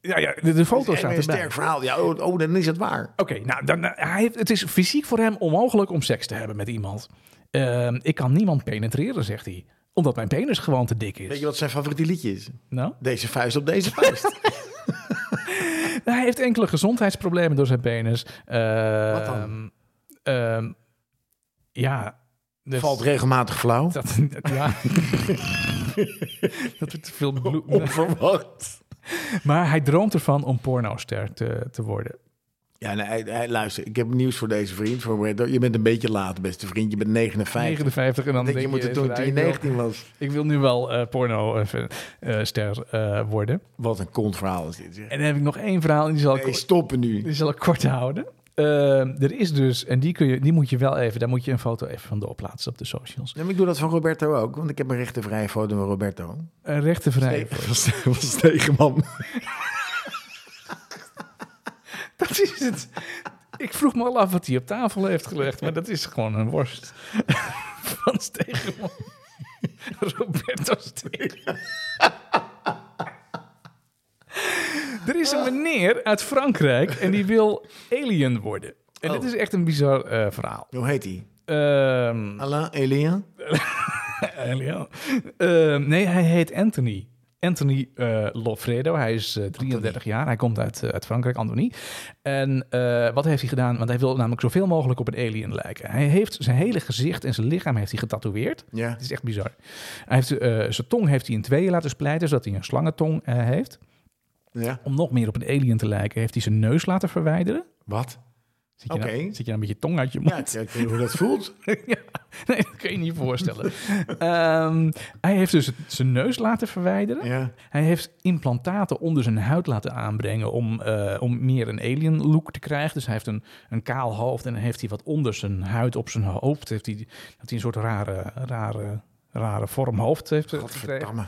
Ja, ja de, de
Het
foto's
is echt
staan
een
erbij.
sterk verhaal. Ja, oh, oh, dan is het waar.
Oké, nou, dan, eh, hij heeft, het is fysiek voor hem onmogelijk om seks te hebben met iemand. Ehm, ik kan niemand penetreren, zegt hij. Omdat mijn penis gewoon te dik
Weet
is.
je wat zijn favoriete liedje is?
Nou?
Deze vuist op deze *laughs* vuist.
Nou, Hij heeft enkele gezondheidsproblemen door zijn penis. Ehm,
Wat dan?
ehm, ja. dat-
Valt regelmatig flauw.
*laughs* Dat, ja. dat er te veel
Oh.
bloed...
*laughs* Onverwacht.
Maar hij droomt ervan om pornoster te, te worden.
Ja, nee, hij, hij- luister, ik heb nieuws voor deze vriend. Voor Brett. je bent een beetje laat, beste vriend. Je bent 59.
59 en dan
Ik denk,
denk
je moet het
even,
toen toen
nou,
je
ik wil-
19 was.
Ik wil nu wel eh pornoster eh, worden.
Wat een kontverhaal is dit. zeg.
En dan heb ik nog één verhaal en die zal ik...
Nee, stoppen nu.
Die zal ik kort houden. Ehm, er is dus, en die, kun je, die moet je wel even, daar moet je een foto even van doorplaatsen op de socials.
Nee, maar ik doe dat van Roberto ook, want ik heb een rechtervrije foto van Roberto.
Een rechtenvrij.
*laughs* Nee, van Ste- van Stegeman.
Dat is het. Ik vroeg me al af wat hij op tafel heeft gelegd, maar dat is gewoon een worst. Van Stegenman. Roberto Stegenman. Er is een meneer uit Frankrijk en die wil alien worden. En dit is echt een bizar eh, verhaal.
Hoe heet hij?
Ehm,
Alain Elia?
alien. Ehm, nee, hij Ehm, heet Anthony. Anthony eh Lofredo. Hij is eh, 33 jaar. Hij komt uit, eh, uit Frankrijk, Anthony. En eh, wat heeft hij gedaan? Want hij wil namelijk zoveel mogelijk op een alien lijken. Hij heeft zijn hele gezicht en zijn lichaam heeft hij getatoeëerd.
Ja.
Het is echt bizar. Hij heeft, eh, zijn tong heeft hij in tweeën laten splijten, zodat hij een slangentong eh, heeft.
ja.
Om nog meer op een alien te lijken, heeft hij zijn neus laten verwijderen.
Wat?
Zit je, nou,
Oké.
zit je nou met je tong uit je mond? *laughs*
Ja, ik ik weet niet hoe dat *laughs* voelt.
ja, nee, dat kun je niet voorstellen. Ehm, hij heeft dus het- zijn neus laten verwijderen.
Ja.
Hij heeft implantaten onder zijn huid laten aanbrengen om, eh, om meer een alien look te krijgen. Dus hij heeft een, een kaal hoofd en dan heeft hij wat onder zijn huid op zijn hoofd. Heeft hij, dat hij een soort rare, rare, rare vorm hoofd heeft eh, gekregen.
Godverdamme.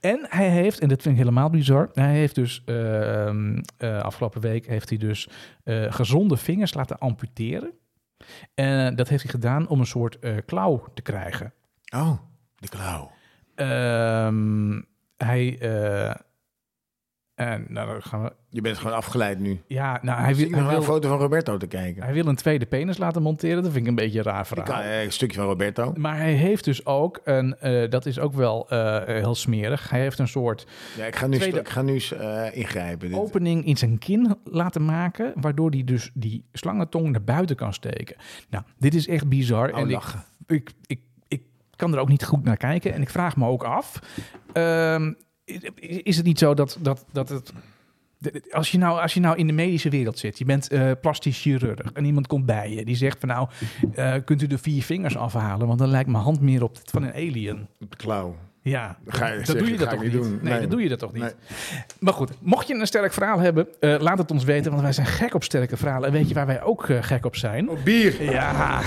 En hij heeft, en dat vind ik helemaal bizar, hij heeft dus ehm, eh, afgelopen week heeft hij dus eh, gezonde vingers laten amputeren. En eh, dat heeft hij gedaan om een soort eh, klauw te krijgen.
Oh, de klauw.
Ehm, hij. eh, en, nou, dan gaan we.
Je bent gewoon afgeleid nu.
Ja, nou, hij
Zit
wil,
ik nog
hij,
naar een
wil,
foto van Roberto te kijken?
hij wil een tweede penis laten monteren. Dat vind ik een beetje een raar
Ik kan,
verhaal.
eh, een stukje van Roberto.
Maar hij heeft dus ook, en dat is ook wel eh, heel smerig. Hij heeft een soort
Ja, ik ga nu,
Tweede-
ik ga nu eens, eh, ingrijpen. Dit-
opening in zijn kin laten maken, waardoor hij dus die slangentong naar buiten kan steken. Nou, dit is echt bizar.
Oh,
en ik,
lachen.
ik, ik, ik kan er ook niet goed naar kijken. En ik vraag me ook af, ehm, is het niet zo dat, dat, dat het... Als je, nou, als je nou in de medische wereld zit, je bent eh, plastisch chirurg en iemand komt bij je die zegt van nou, eh, kunt u de vier vingers afhalen, want dan lijkt mijn hand meer op het van een alien.
De klauw.
Ja,
Ga je
dat
zeggen,
doe je
ga
dat
ik
toch
niet
niet?
doen.
Nee,
Nee.
dat doe je dat toch niet?
Nee.
Maar goed, mocht je een sterk verhaal hebben, eh, laat het ons weten, want wij zijn gek op sterke verhalen. En weet je waar wij ook eh, gek op zijn?
Oh, bier.
Ja,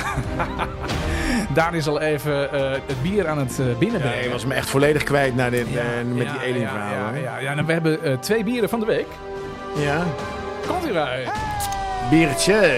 daar is al even eh, het bier aan het eh
Ja, je
binnenbrengen.
was me echt volledig kwijt naar dit, eh, met
Ja,
die alien
ja,
verhaal.
Ja,
Ja,
ja, ja. Nou, we hebben eh, twee bieren van de week. Komt u bij.
Biertje.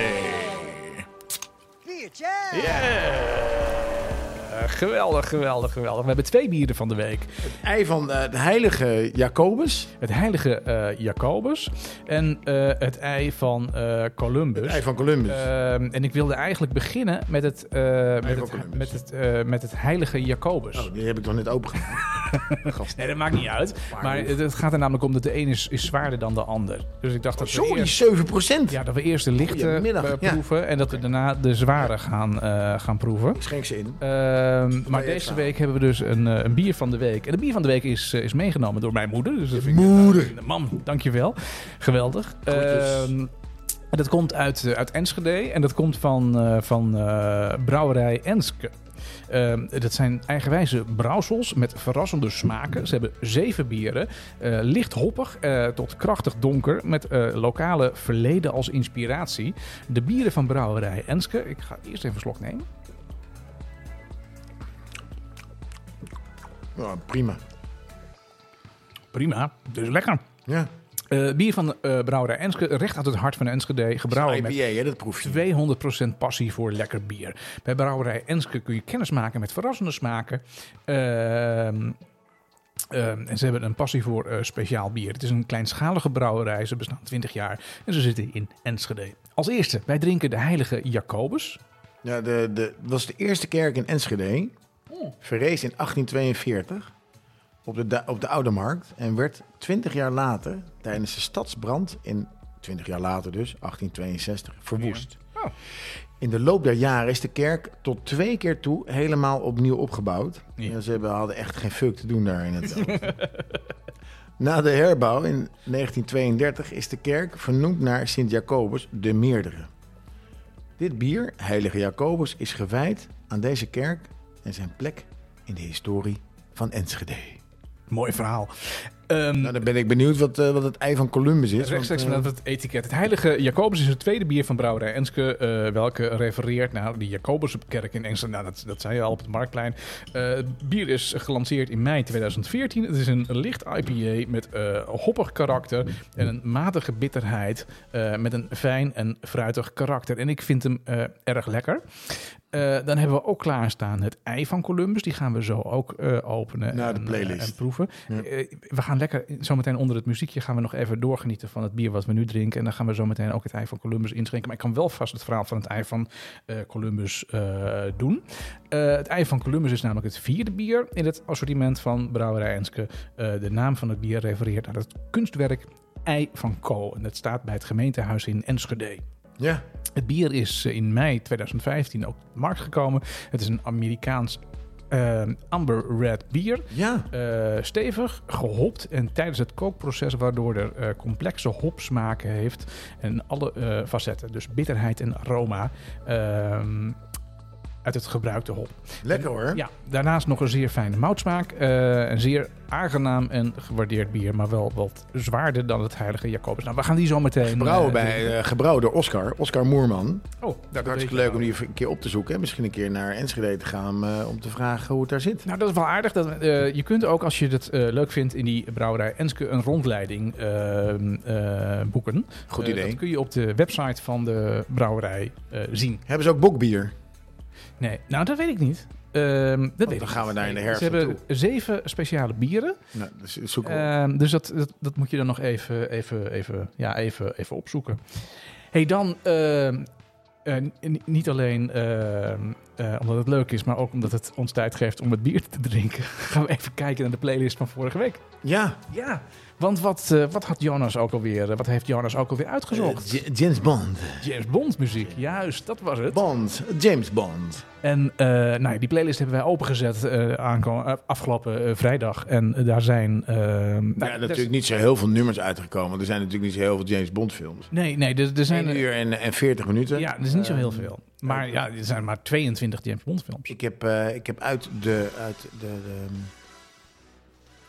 Eh, geweldig, geweldig, geweldig. We hebben twee bieren van de week.
Ei van eh, de heilige Jacobus.
Het heilige eh, Jacobus en eh, het ei van eh, Columbus.
Ei van Columbus.
Ehm, en ik wilde eigenlijk beginnen met het, eh, met
van
het,
Columbus.
met het, eh, met het heilige Jacobus.
oh, die heb ik nog net opengemaakt.
*laughs*
Gast.
Nee, dat maakt niet uit. Maar het het gaat er namelijk om dat de een is, is zwaarder dan de ander. Dus ik dacht dat we
Oh, Sorry,
eerst,
7
ja, dat we eerst de lichte
Goedemiddag,
eh,
ja.
proeven en dat we daarna de zware gaan, eh, gaan proeven.
Ik schenk ze in.
Ehm, maar
je
deze
extra.
week hebben we dus een, eh, een bier van de week. En de bier van de week is, eh, is meegenomen door mijn moeder. Dus dat vind ik-
Moeder.
Mam, dankjewel. Geweldig.
Groetjes.
Ehm, en dat komt uit, eh, uit Enschede en dat komt van, eh, van eh, brouwerij Enske. Ehm, dat zijn eigenwijze brouwsels met verrassende smaken. Ze hebben zeven bieren. eh, licht hoppig eh, tot krachtig donker. Met eh, lokale verleden als inspiratie. De bieren van brouwerij Enske. Ik ga eerst even een slok nemen.
Ja, prima.
Prima, dus lekker.
Ja.
Eh, bier van eh brouwerij Enske, recht uit het hart van Enschede. Gebrouwen Nou, met
IPA, hè, dat proef je.
200% passie voor lekker bier. Bij brouwerij Enske kun je kennis maken met verrassende smaken. Ehm, ehm, en ze hebben een passie voor eh, speciaal bier. Het is een kleinschalige brouwerij. Ze bestaan 20 jaar en ze zitten in Enschede. Als eerste, wij drinken de heilige Jacobus.
Ja, de, de, het was de eerste kerk in Enschede.
Oh.
Verrees in 1842 op de, Da- op de Oude Markt. En werd 20 jaar later, tijdens de stadsbrand in 20 jaar later dus, 1862, verwoest.
Ja. Oh.
In de loop der jaren is de kerk tot twee keer toe helemaal opnieuw opgebouwd.
Ja.
En ze hebben, hadden echt geen fuck te doen daar in het *laughs* Na de herbouw in 1932 is de kerk vernoemd naar Sint Jacobus de Meerdere. Dit bier, Heilige Jacobus, is gewijd aan deze kerk en zijn plek in de historie van Enschede.
Mooi verhaal. Ehm,
Nou, dan ben ik benieuwd wat, eh, wat het ei van Columbus is.
Rechtstreeks
want, eh,
vanuit het etiket. Het heilige Jacobus is het tweede bier van brouwerij Enske, eh, welke refereert naar de Jacobuskerk in Enschede. Nou, dat, dat zei je al op het Marktplein. Eh, het bier is gelanceerd in mei 2014. Het is een licht IPA met eh, hoppig karakter en een matige bitterheid eh, met een fijn en fruitig karakter. En ik vind hem eh, erg lekker. Eh, dan hebben we ook klaarstaan het ei van Columbus. Die gaan we zo ook eh, openen
Nou, de
en,
playlist.
en proeven.
Ja.
Eh, we gaan lekker zometeen onder het muziekje gaan we nog even doorgenieten van het bier wat we nu drinken. En dan gaan we zometeen ook het ei van Columbus inschenken. Maar ik kan wel vast het verhaal van het ei van eh, Columbus eh, doen. Eh, het ei van Columbus is namelijk het vierde bier in het assortiment van Brouwerij Enske. Eh, de naam van het bier refereert aan het kunstwerk Ei van Co. En dat staat bij het gemeentehuis in Enschede.
eh, Ja,
Het bier is eh, in mei 2015 ook op de markt gekomen. Het is een Amerikaans eh, amber red bier.
ja.
Eh, stevig, gehopt en tijdens het kookproces waardoor er eh, complexe hopsmaken heeft en alle eh, facetten, dus bitterheid en aroma ehm, uit het gebruikte hop.
Lekker hoor.
Ja, daarnaast nog een zeer fijne moutsmaak, eh, een zeer aangenaam en gewaardeerd bier, maar wel wat zwaarder dan het heilige Jacobus. Nou, we gaan die zo meteen...
Gebrouwen,
eh,
bij, eh, gebrouwen door Oscar, Oscar Moerman.
Oh, dat
Hartstikke
weet je
leuk om die een keer op te zoeken. En misschien een keer naar Enschede te gaan eh, om te vragen hoe het daar zit.
Nou, dat is wel aardig. Dat, eh, je kunt ook, als je het eh, leuk vindt, in die brouwerij Enske een rondleiding eh, eh, boeken.
Goed
Eh,
idee.
dat kun je op de website van de brouwerij eh, zien.
Hebben ze ook bokbier?
Nee, nou, dat weet ik niet. Ehm, dat weet
Oh, dan
ik
gaan
niet.
we daar in de herfst
Ze hebben zeven speciale bieren.
Nou, dus zoek op.
Ehm, dus dat, dat, dat moet je dan nog even, even, even, ja, even, even opzoeken. hey, dan ehm, eh, n- niet alleen ehm, eh, omdat het leuk is, maar ook omdat het ons tijd geeft om het bier te drinken. *laughs* Gaan we even kijken naar de playlist van vorige week.
ja,
Ja, want wat, eh, wat had Jonas ook alweer? eh, wat heeft Jonas ook alweer uitgezocht?
Eh, J- James Bond.
James Bond muziek, juist, dat was het.
Bond. James Bond.
En eh, nou, ja, die playlist hebben wij opengezet eh, aanko- eh, afgelopen eh, vrijdag. En eh, daar zijn. eh, nou,
Ja,
daar-
natuurlijk niet zo heel veel nummers uitgekomen. Er zijn natuurlijk niet zo heel veel James Bond films.
Nee, nee, er, er zijn.
Een uur en, en 40 minuten.
Ja, dat is niet zo
Ehm,
heel veel. Maar
eh,
ja, er zijn maar 22 James Bond films.
Ik heb, eh, ik heb uit de, uit de, de, ehm,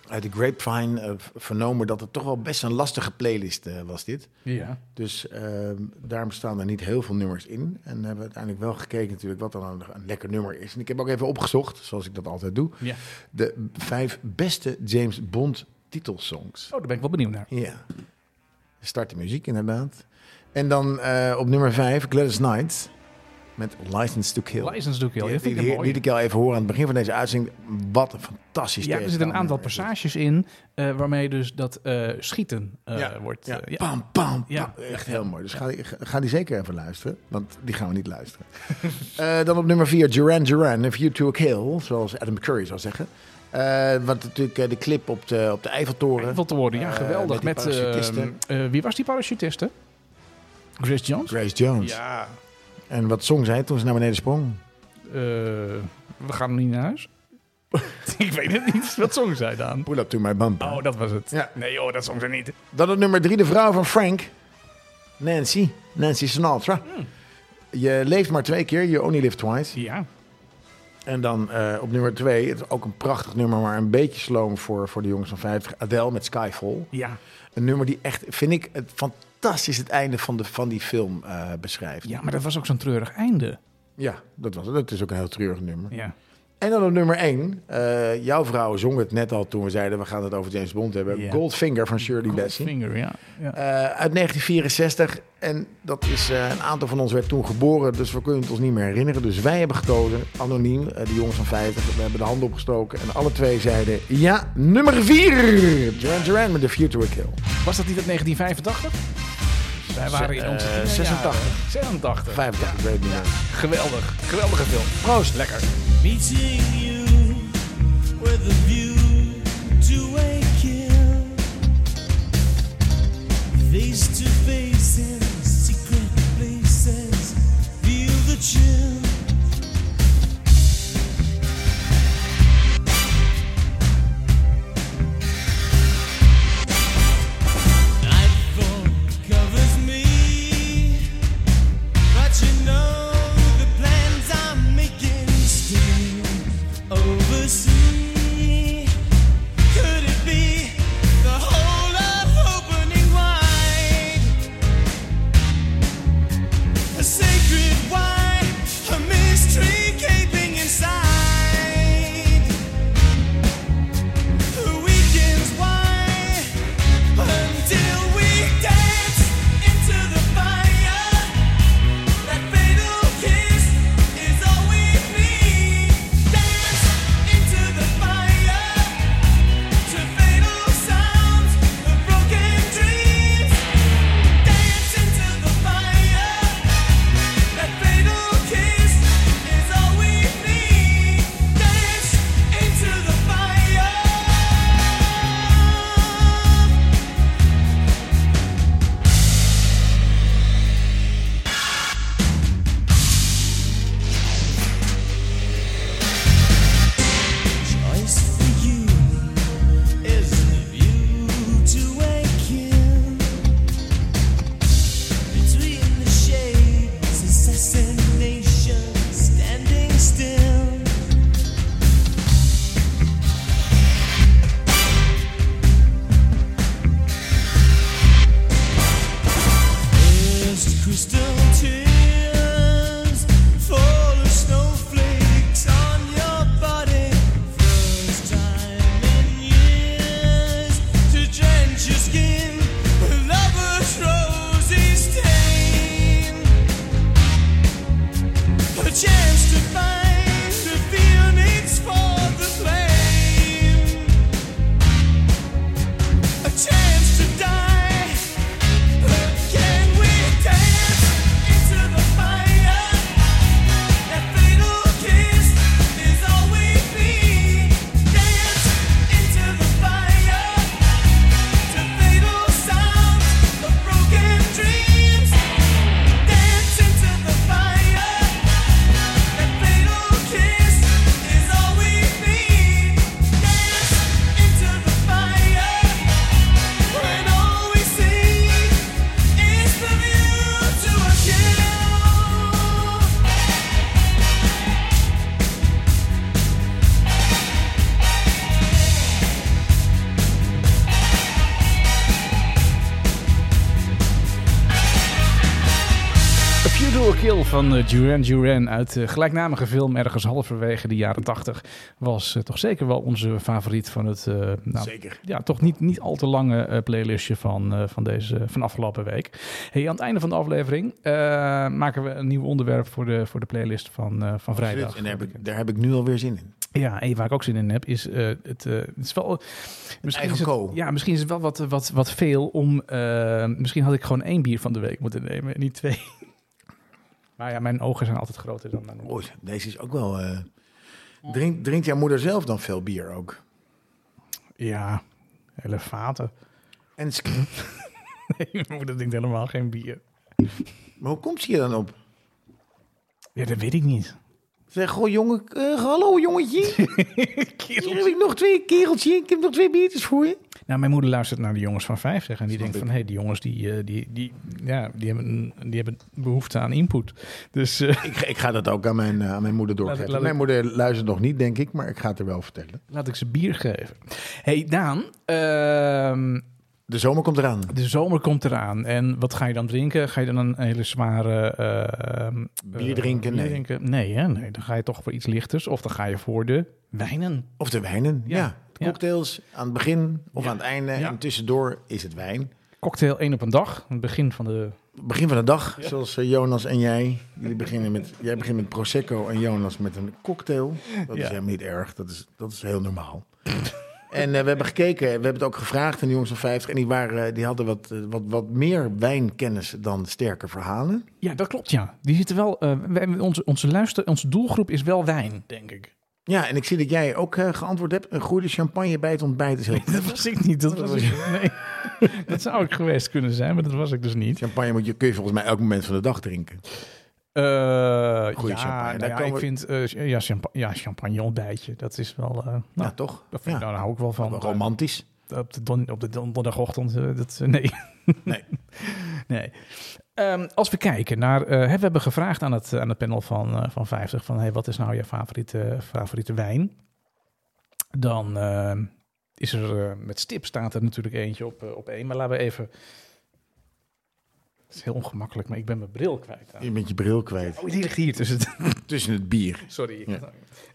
uit de grapevine eh, v- vernomen dat het toch wel best een lastige playlist eh, was dit.
Ja.
Dus ehm, daarom staan er niet heel veel nummers in. En hebben we uiteindelijk wel gekeken natuurlijk wat dan een, een lekker nummer is. En ik heb ook even opgezocht, zoals ik dat altijd doe,
ja. Oh,
de vijf beste James Bond titelsongs.
Oh, daar ben ik wel benieuwd naar.
Ja. Start de muziek inderdaad. En dan eh, op nummer vijf Gladys Knight met License to Kill.
License doe ik heel.
Die,
Dat
die,
vind ik
die-
een mooi.
liet ik al even horen aan het begin van deze uitzending. Wat een fantastisch
Ja, er zitten een aantal
tegenstander.
passages in eh, waarmee dus dat eh, schieten eh, wordt. eh,
Ja.
ja.
Pam, pam,
Ja.
pam. Echt heel mooi. Dus ga die, ga die zeker even luisteren. Want die gaan we niet luisteren. *laughs* Eh, dan op nummer 4, Duran Duran, If You To A Kill. Zoals Adam Curry zou zeggen. Eh want natuurlijk eh, de clip op de, op de Eiffeltoren.
Wat te worden. Ja,
Eh,
geweldig.
met
Met,
die parachutisten.
eh, eh, wie was die parachutiste? Chris Jones?
Grace Jones.
Ja.
En wat zong zij toen ze naar beneden sprong?
Eh, we gaan nog niet naar huis. *laughs* ik weet het niet. *laughs* Wat zong zij dan?
Pull up to my bumper.
Oh, dat was het.
Ja.
Nee joh, dat zong ze niet.
Dan op nummer 3, de vrouw van Frank. Nancy. Nancy Sinatra.
Hmm.
Je leeft maar twee keer. You only live twice.
Ja.
En dan eh, op nummer 2, het is ook een prachtig nummer, maar een beetje sloom voor, voor de jongens van 50. Adele met Skyfall.
Ja.
Een nummer die echt, vind ik, het fantastisch het einde van, de, van die film eh, beschrijft.
Ja, maar dat was ook zo'n treurig einde.
Ja, dat was het. Het is ook een heel treurig nummer.
Ja.
En dan op nummer 1, jouw vrouw zong het net al toen we zeiden we gaan het over James Bond hebben.
Ja.
Goldfinger van Shirley Bassey.
Goldfinger, ja. ja.
Eh, uit 1964. En dat is, eh, een aantal van ons werd toen geboren, dus we kunnen het ons niet meer herinneren. Dus wij hebben gekozen, anoniem, eh, de jongens van 50. We hebben de handen opgestoken en alle twee zeiden, ja, nummer 4! Duran Duran met The Future Will Kill.
Eh, Was dat niet uit 1985? Wij waren in onze
Eh,
tienerjaren.
86.
86.
85, ik weet het niet meer.
Geweldig. Geweldige film. Proost. Lekker.
Meeting you with a view to a kill. Face to face in secret places. Feel the chill. Nightfall covers me. But you know the plans I'm making still oversee. Could it be the whole of opening wide?
Do a Kill van eh, Duran Duran uit de gelijknamige film ergens halverwege de jaren 80 was eh, toch zeker wel onze favoriet van het eh, nou,
Zeker.
ja, toch niet, niet al te lange eh, playlistje van, eh, van, deze, van afgelopen week. Hey, aan het einde van de aflevering eh, maken we een nieuw onderwerp voor de, voor de playlist van, eh, van vrijdag.
Oh, En daar heb, ik, daar heb ik nu alweer zin in.
Ja, en waar ik ook zin in heb, is eh, het, eh, het is wel.
eigen
is het,
kool.
ja, misschien is het wel wat, wat, wat veel om. eh, misschien had ik gewoon één bier van de week moeten nemen, en niet twee. *laughs* Maar ja, mijn ogen zijn altijd groter dan mijn
Oei, deze is ook wel... eh, drink, drinkt jouw moeder zelf dan veel bier ook?
Ja, hele *laughs* vaten.
En sk-
*laughs* Nee, mijn moeder drinkt helemaal geen bier.
maar hoe komt ze hier dan op?
Ja, dat weet ik niet.
Zeg, goh, jongen, eh, hallo *laughs* jongetje. Hier heb
Kerels.
ik nog twee kereltje. Ik heb nog twee biertjes voor je.
Nou, mijn moeder luistert naar de jongens van vijf, zeg. En die
Snap
denkt
ik.
van, hé, hey, die jongens die, eh, die, die, ja, die, hebben, die hebben behoefte aan input. Dus eh, *laughs*
Ik, ik ga dat ook aan mijn, eh, aan mijn moeder
ik-
doorgeven.
laat ik-
Mijn moeder luistert nog niet, denk ik, maar ik ga het er wel vertellen.
laat ik ze bier geven. hey, Daan. ehm,
De zomer komt eraan.
De zomer komt eraan. En wat ga je dan drinken? Ga je dan een hele zware... eh, ehm,
Bier
eh,
drinken?
bier
Nee.
drinken? Nee, hè? nee, dan ga je toch voor iets lichters. Of dan ga je voor de wijnen.
Of de wijnen. Ja.
Ja.
De Cocktails aan het begin of
Ja.
aan het einde.
Ja.
En tussendoor is het wijn.
Cocktail één op een dag. Het begin van de...
Begin van de dag, zoals eh, Jonas en jij. Jullie beginnen met, jij begint met Prosecco en Jonas met een cocktail. Dat is
Ja.
helemaal niet erg. Dat is, dat is heel normaal. en eh, we hebben gekeken. We hebben het ook gevraagd aan de jongens van 50. En die, waren, eh, die hadden wat, eh, wat, wat meer wijnkennis dan sterke verhalen.
Ja, dat klopt, ja. Die zitten wel... eh, wij- onze, onze, luister, onze doelgroep is wel wijn, denk ik.
Ja, en ik zie dat jij ook eh, geantwoord hebt. Een goede champagne bij het ontbijt is heel
*laughs* Dat was ik niet. Dat, was ik, nee. dat zou ik geweest kunnen zijn, maar dat was ik dus niet.
Champagne moet je, kun je volgens mij elk moment van de dag drinken.
Eh,
Goeie
ja,
champagne. Daar
Nou ja,
komen
ik
we-
vind... eh, ja, champa ja, champagne ontbijtje. Dat is wel... eh, nou,
ja, toch?
dat vind ik,
Ja.
nou, daar hou ik wel van.
Romantisch.
op de, don- op de donderdagochtend. eh, dat, eh, nee.
*laughs* Nee.
*laughs* nee. Ehm, als we kijken naar. eh, hè, we hebben gevraagd aan het, aan het panel van, eh, van 50: van, hey, wat is nou je favoriete, favoriete wijn? Dan eh, is er. eh, met stip staat er natuurlijk eentje op, eh, op één. Maar laten we even. Het is heel ongemakkelijk, maar ik ben mijn bril kwijt.
Je bent je bril kwijt.
Oh, die ligt hier tussen. *laughs* de-
Tussen het bier.
Sorry.
Ja.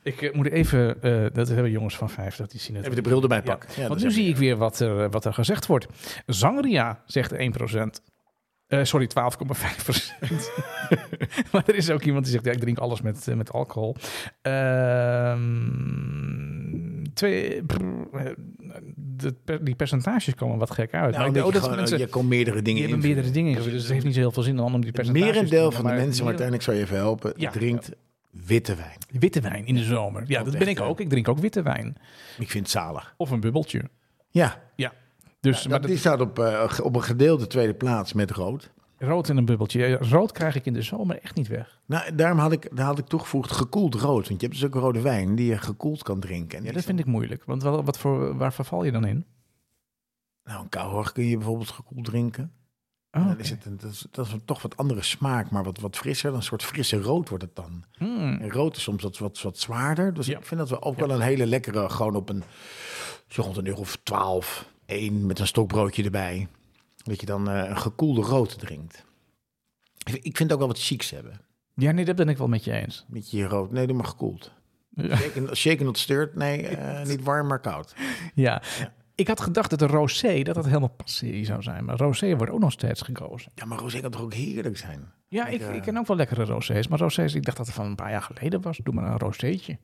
Ik eh, moet even. eh, dat hebben jongens van 50, die zien het.
Even de bril erbij
Ja,
pakken. Ja, dat
Want nu
is
zie
even-
ik weer wat er, wat er gezegd wordt. Zangria zegt 1%. Eh, sorry, 12,5%. *laughs* maar er is ook iemand die zegt, ja, ik drink alles met, eh, met alcohol. Ehm, twee, brr, eh, de per- die percentages komen wat gek uit.
Nou,
maar ik denk,
dat
oh,
je,
dat
gewoon,
mensen,
je kon meerdere
die
dingen
hebben
in.
meerdere dingen ingevuld. Dus het heeft niet zo heel veel zin dan om die
Het
percentages te
merendeel
doen,
van de
maar
mensen,
meer-
Martijn, ik zou je even helpen,
Ja.
drinkt witte wijn.
Witte wijn in de zomer. Ja,
Ook
dat ben
echt,
ik
hè?
ook. Ik drink ook witte wijn.
Ik vind het zalig.
Of een bubbeltje. Dus,
Ja,
Ja. Dus,
dat, die staat op, eh, ge- op een gedeelde tweede plaats met rood.
Rood in een bubbeltje. Ja, Rood krijg ik in de zomer echt niet weg.
Nou, daarom had ik, daar had ik toegevoegd gekoeld rood. Want je hebt dus ook rode wijn die je gekoeld kan drinken. En
Ja,
die
dat
is dan-
vind ik moeilijk. Want wel- wat voor, waar verval je dan in?
Nou, een kouhorg kun je bijvoorbeeld gekoeld drinken.
Oh,
En dan
oké.
is het een, dat, is, dat is een toch wat andere smaak, maar wat, wat frisser. Een soort frisse rood wordt het dan.
Hmm.
En rood is soms wat, wat, wat zwaarder. Dus
Ja.
ik vind dat we ook wel een hele lekkere, gewoon op een, zo rond een uur of twaalf, één met een stokbroodje erbij. Dat je dan eh, een gekoelde rood drinkt. Ik vind- Ik vind het ook wel wat chics hebben.
Ja, nee, dat ben ik wel met je eens.
Met je rood. Nee, doe maar gekoeld.
Ja.
Shaken- Shaken not stirred. Nee, eh, niet warm, maar koud.
Ja. Ik had gedacht dat een rosé, dat dat helemaal passé zou zijn. Maar rosé wordt ook nog steeds gekozen.
Ja, maar rosé kan toch ook heerlijk zijn?
Ja, ik,
eh,
ik ken ook wel lekkere rosés. Maar rosés, ik dacht dat het van een paar jaar geleden was. Doe maar een roséetje.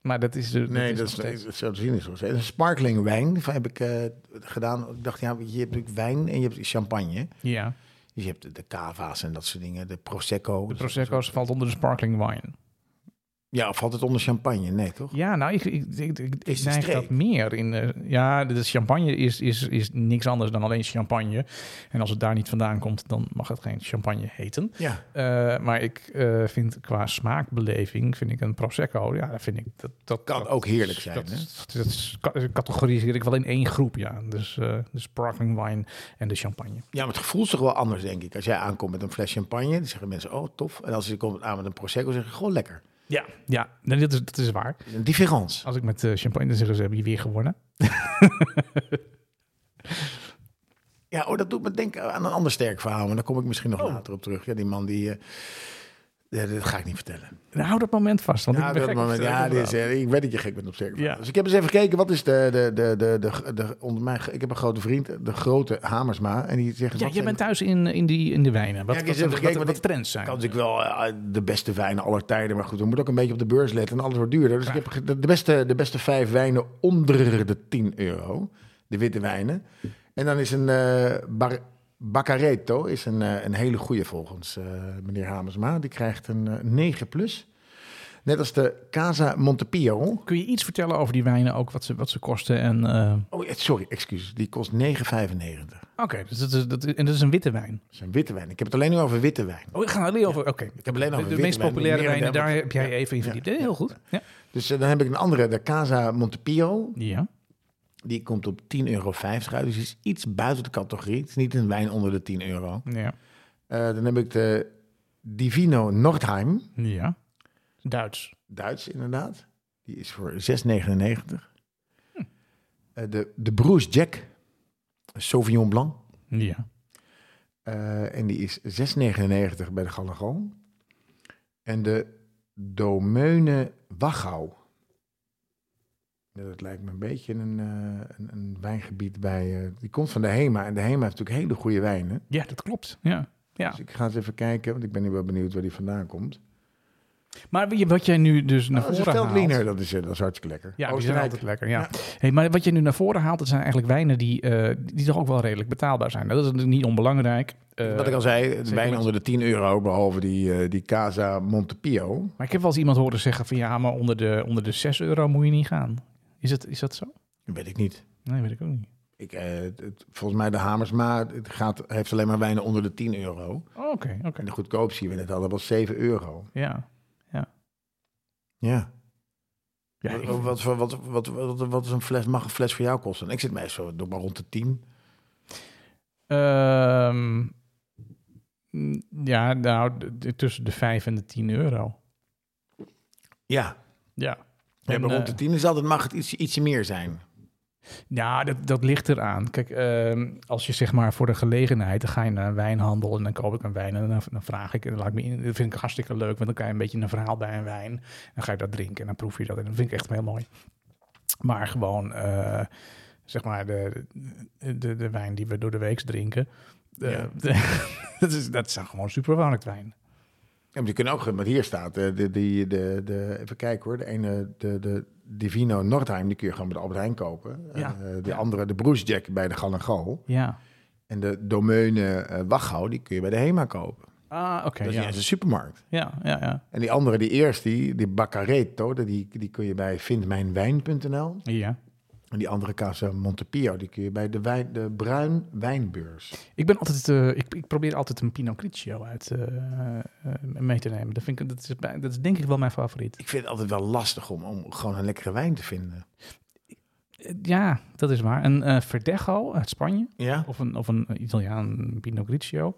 Maar dat is... de-
Nee, dat
nog
is,
steeds-
dat is- zo te zien is rosé. Een sparkling wijn van heb ik eh, gedaan. Ik dacht, ja, je hebt natuurlijk wijn en je hebt champagne.
Ja,
Dus je hebt de- de cava's en dat soort dingen. De prosecco.
de Prosecco's valt onder de sparkling wine.
Ja, of valt het onder champagne? Nee, toch?
Ja, nou, ik, ik, ik, ik, ik
Is de
neig
streek.
dat meer in. eh, ja, de champagne is, is, is niks anders dan alleen champagne. En als het daar niet vandaan komt, dan mag het geen champagne heten.
Ja.
Eh, maar ik eh, vind qua smaakbeleving, vind ik een Prosecco, ja, dat vind ik... Dat, dat
Kan
dat-
ook heerlijk zijn,
Dat,
hè?
dat, dat is- ka- categoriseer ik wel in één groep, ja. Dus eh, de sparkling wine en de champagne.
Ja, maar het gevoel is toch wel anders, denk ik. Als jij aankomt met een fles champagne, dan zeggen mensen, oh, tof. En als je komt aan met een prosecco, zeggen ze, gewoon lekker.
Ja, ja nee, dat, is, dat is waar.
Een différence.
Als ik met eh, champagne zeg, ze hebben je weer gewonnen.
Ja, oh, dat doet me denken aan een ander sterk verhaal. Maar daar kom ik misschien
Oh.
nog later op terug. Ja, die man die... eh, ja, dat ga ik niet vertellen.
Nou, hou dat moment vast, want
Ja,
ik ben
dat
gek
moment,
op het *laughs*
ja
sterke
dit is,
verhaal.
eh, ik weet dat je gek bent op sterk verhaal.
Ja.
Dus ik heb eens even gekeken, wat is de... de, de, de, de, de- onder mijn, ik heb een grote vriend, de grote Hamersma. En die zegt...
Ja,
wat
jij
zijn-
bent thuis in, in, die, in de wijnen. Wat,
Ja, ik
wat,
eens even
wat,
gekeken,
wat
want
de trends zijn.
kan natuurlijk wel eh, de beste wijnen aller tijden. Maar goed, we moeten ook een beetje op de beurs letten. En alles wordt duurder. Dus ik heb ge- de de beste, de beste vijf wijnen onder de 10 euro. De witte wijnen. En dan is een eh Bar- Baccaretto is een, eh, een hele goede volgens eh, meneer Hamersma. Die krijgt een eh, 9 plus. Net als de Casa Montepio.
Kun je iets vertellen over die wijnen, ook wat ze, wat ze kosten? En, eh,
Oh, eh, sorry, excuus. Die kost 9,95. Dat
Oké, dus dat is, dat, is- en dat is een witte wijn.
is een witte wijn. Ik heb het alleen nu over witte wijn.
Oh, we gaan alleen over... Oké,
Ik heb alleen
de, de
over witte
meest
wijn,
populaire
meer dan
wijnen,
dat.
daar heb jij
Ja.
even in verdiept. Eh, Heel goed. Ja.
Dus eh, dan heb ik een andere, de Casa Montepio.
ja.
Die komt op 10,50 euro uit. Dus is iets buiten de categorie. Het is niet een wijn onder de 10 euro.
Ja.
Eh, dan heb ik de Divino Nordheim.
Ja. Duits.
Duits inderdaad. Die is voor 6,99. Eh, de, de Broes Jack. Sauvignon Blanc.
Ja.
Eh, en die is 6,99 bij de Galago. En de Domeune Wachau. Ja, dat lijkt me een beetje een, eh, een, een wijngebied bij... eh, die komt van de HEMA. En de HEMA heeft natuurlijk hele goede wijnen.
Ja, dat klopt. Ja. Ja.
Dus ik ga eens even kijken, want ik ben nu wel benieuwd waar die vandaan komt.
Maar wie- wat jij nu dus naar
Oh, dat is een
voren haalt...
Veldliner, dat is, eh, dat is hartstikke lekker.
Ja, die zijn
Oostenrijk.
altijd lekker. Ja. Hey, maar wat je nu naar voren haalt, dat zijn eigenlijk wijnen die, eh, die toch ook wel redelijk betaalbaar zijn. Dat is natuurlijk niet onbelangrijk. Eh,
Wat ik al zei, de wijn
met-
onder de 10 euro, behalve die, eh, die Casa Montepio.
Maar ik heb wel eens iemand horen zeggen van ja, maar onder de, onder de 6 euro moet je niet gaan. Is dat, is dat zo?
Weet ik niet.
Nee, weet ik ook niet.
Ik, eh, het- het- volgens mij de Hamersma het gaat, heeft alleen maar wijnen onder de 10 euro.
Oh, Oké, oké.
En de goedkoopste die we net hadden was 7 euro.
Ja.
Ja.
ja ik-
wat, wat, wat, wat, wat, wat is een fles, mag een fles voor jou kosten? Ik zit meestal doe maar rond de 10.
Ehm, mm, ja, nou, d- d- tussen de 5 en de 10 euro.
Ja.
Ja.
ja
En,
maar rond
eh,
de 10 is altijd, mag het iets, ietsje meer zijn.
Ja, dat, dat ligt eraan. Kijk, ehm, als je zeg maar voor de gelegenheid, dan ga je naar een wijnhandel en dan koop ik een wijn en dan, dan vraag ik, en dan laat ik me in, dat vind ik hartstikke leuk, want dan kan je een beetje een verhaal bij een wijn. Dan ga je dat drinken en dan proef je dat en dat vind ik echt heel mooi. Maar gewoon, eh, zeg maar, de, de, de wijn die we door de week drinken, eh,
Ja.
*laughs* dat, is, dat zijn gewoon supermarktwijn.
Ja, maar die kunnen ook, want hier staat, eh, de, die de, de, even kijken hoor, de ene, de, de Divino Nordheim, die kun je gewoon bij de Albert Heijn kopen.
Ja.
Eh, de andere, de Broesjack bij de Gallengal.
Ja.
En de Domeune eh, Wachau, die kun je bij de HEMA kopen.
Ah, oké.
Dat is
ja.
niet eens een supermarkt.
ja, ja, ja.
En die andere, die eerste, die, die Baccaretto, die, die kun je bij vindmijnwijn.nl.
Ja.
En die andere Casa Montepio, die kun je bij de, wijn, de Bruin Wijnbeurs.
Ik ben altijd, eh, ik, ik probeer altijd een Pinot Grigio uit eh, eh, mee te nemen. Dat, vind ik, dat, is, bij- dat is denk ik wel mijn favoriet.
Ik vind het altijd wel lastig om, om gewoon een lekkere wijn te vinden.
Eh, Ja, dat is waar. Een eh Verdejo uit Spanje
Ja?
of een, of een Italiaan Pinot Grigio.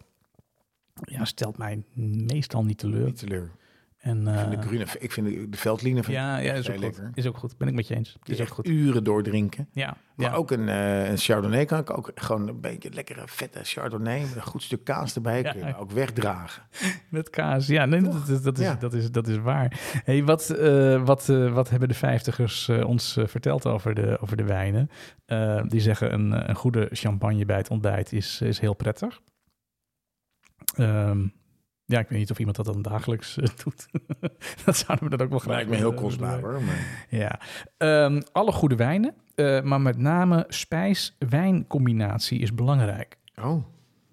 Ja, stelt mij meestal niet teleur.
Niet teleur.
En,
Ik
eh,
vind de, groene, ik vind de, de veldliner van
ja, ja, is
vrij
ook goed.
lekker.
Is ook goed. Ben ik met je eens.
die
Is ook
echt
goed.
uren doordrinken.
Ja,
Maar
ja.
ook een, eh, een Chardonnay kan ik ook gewoon een beetje lekkere vette Chardonnay met een goed stuk kaas erbij
Ja.
kunnen. Ook wegdragen.
Met kaas, ja, nee, dat, dat, dat is,
Ja.
Dat, is, dat is waar. Hey, wat, eh, wat, eh, wat hebben de vijftigers eh, ons eh, verteld over de, over de wijnen? Eh, die zeggen een, eh, een goede champagne bij het ontbijt is, is heel prettig. Ehm, ja, ik weet niet of iemand dat dan dagelijks eh, doet. *laughs* dat zouden we dat ook wel graag
Lijkt me heel
willen- eh,
kostbaar hoor. maar-
ja. Ehm, alle goede wijnen, eh, maar met name spijs-wijncombinatie is belangrijk
Oh,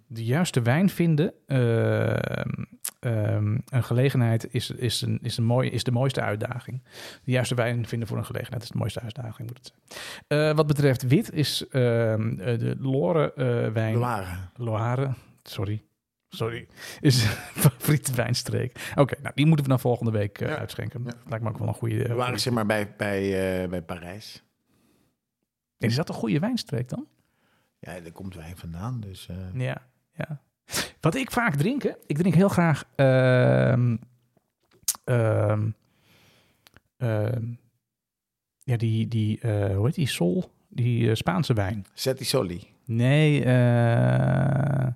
de juiste wijn vinden. ehm, ehm, een gelegenheid is, is, een, is, een mooi, is de mooiste uitdaging. De juiste wijn vinden voor een gelegenheid is de mooiste uitdaging, moet het zijn. Eh, wat betreft wit is ehm, eh, de Loire eh, wijn.
bewaren.
Loire, sorry. Sorry. Is *laughs* favoriete wijnstreek. Oké, nou die moeten we dan volgende week eh,
Ja.
uitschenken.
Ja.
Lijkt me ook wel een goede. eh,
We waren
goede-
zeg maar bij, bij, eh, bij Parijs.
Is dat een goede wijnstreek dan?
Ja, daar komt wijn vandaan. Dus, eh,
Ja, ja. Wat ik vaak drink, hè, ik drink heel graag ehm, ehm, ehm, ja, die, die eh, hoe heet die, sol, die eh, Spaanse wijn.
Zet die soli.
Nee, eh,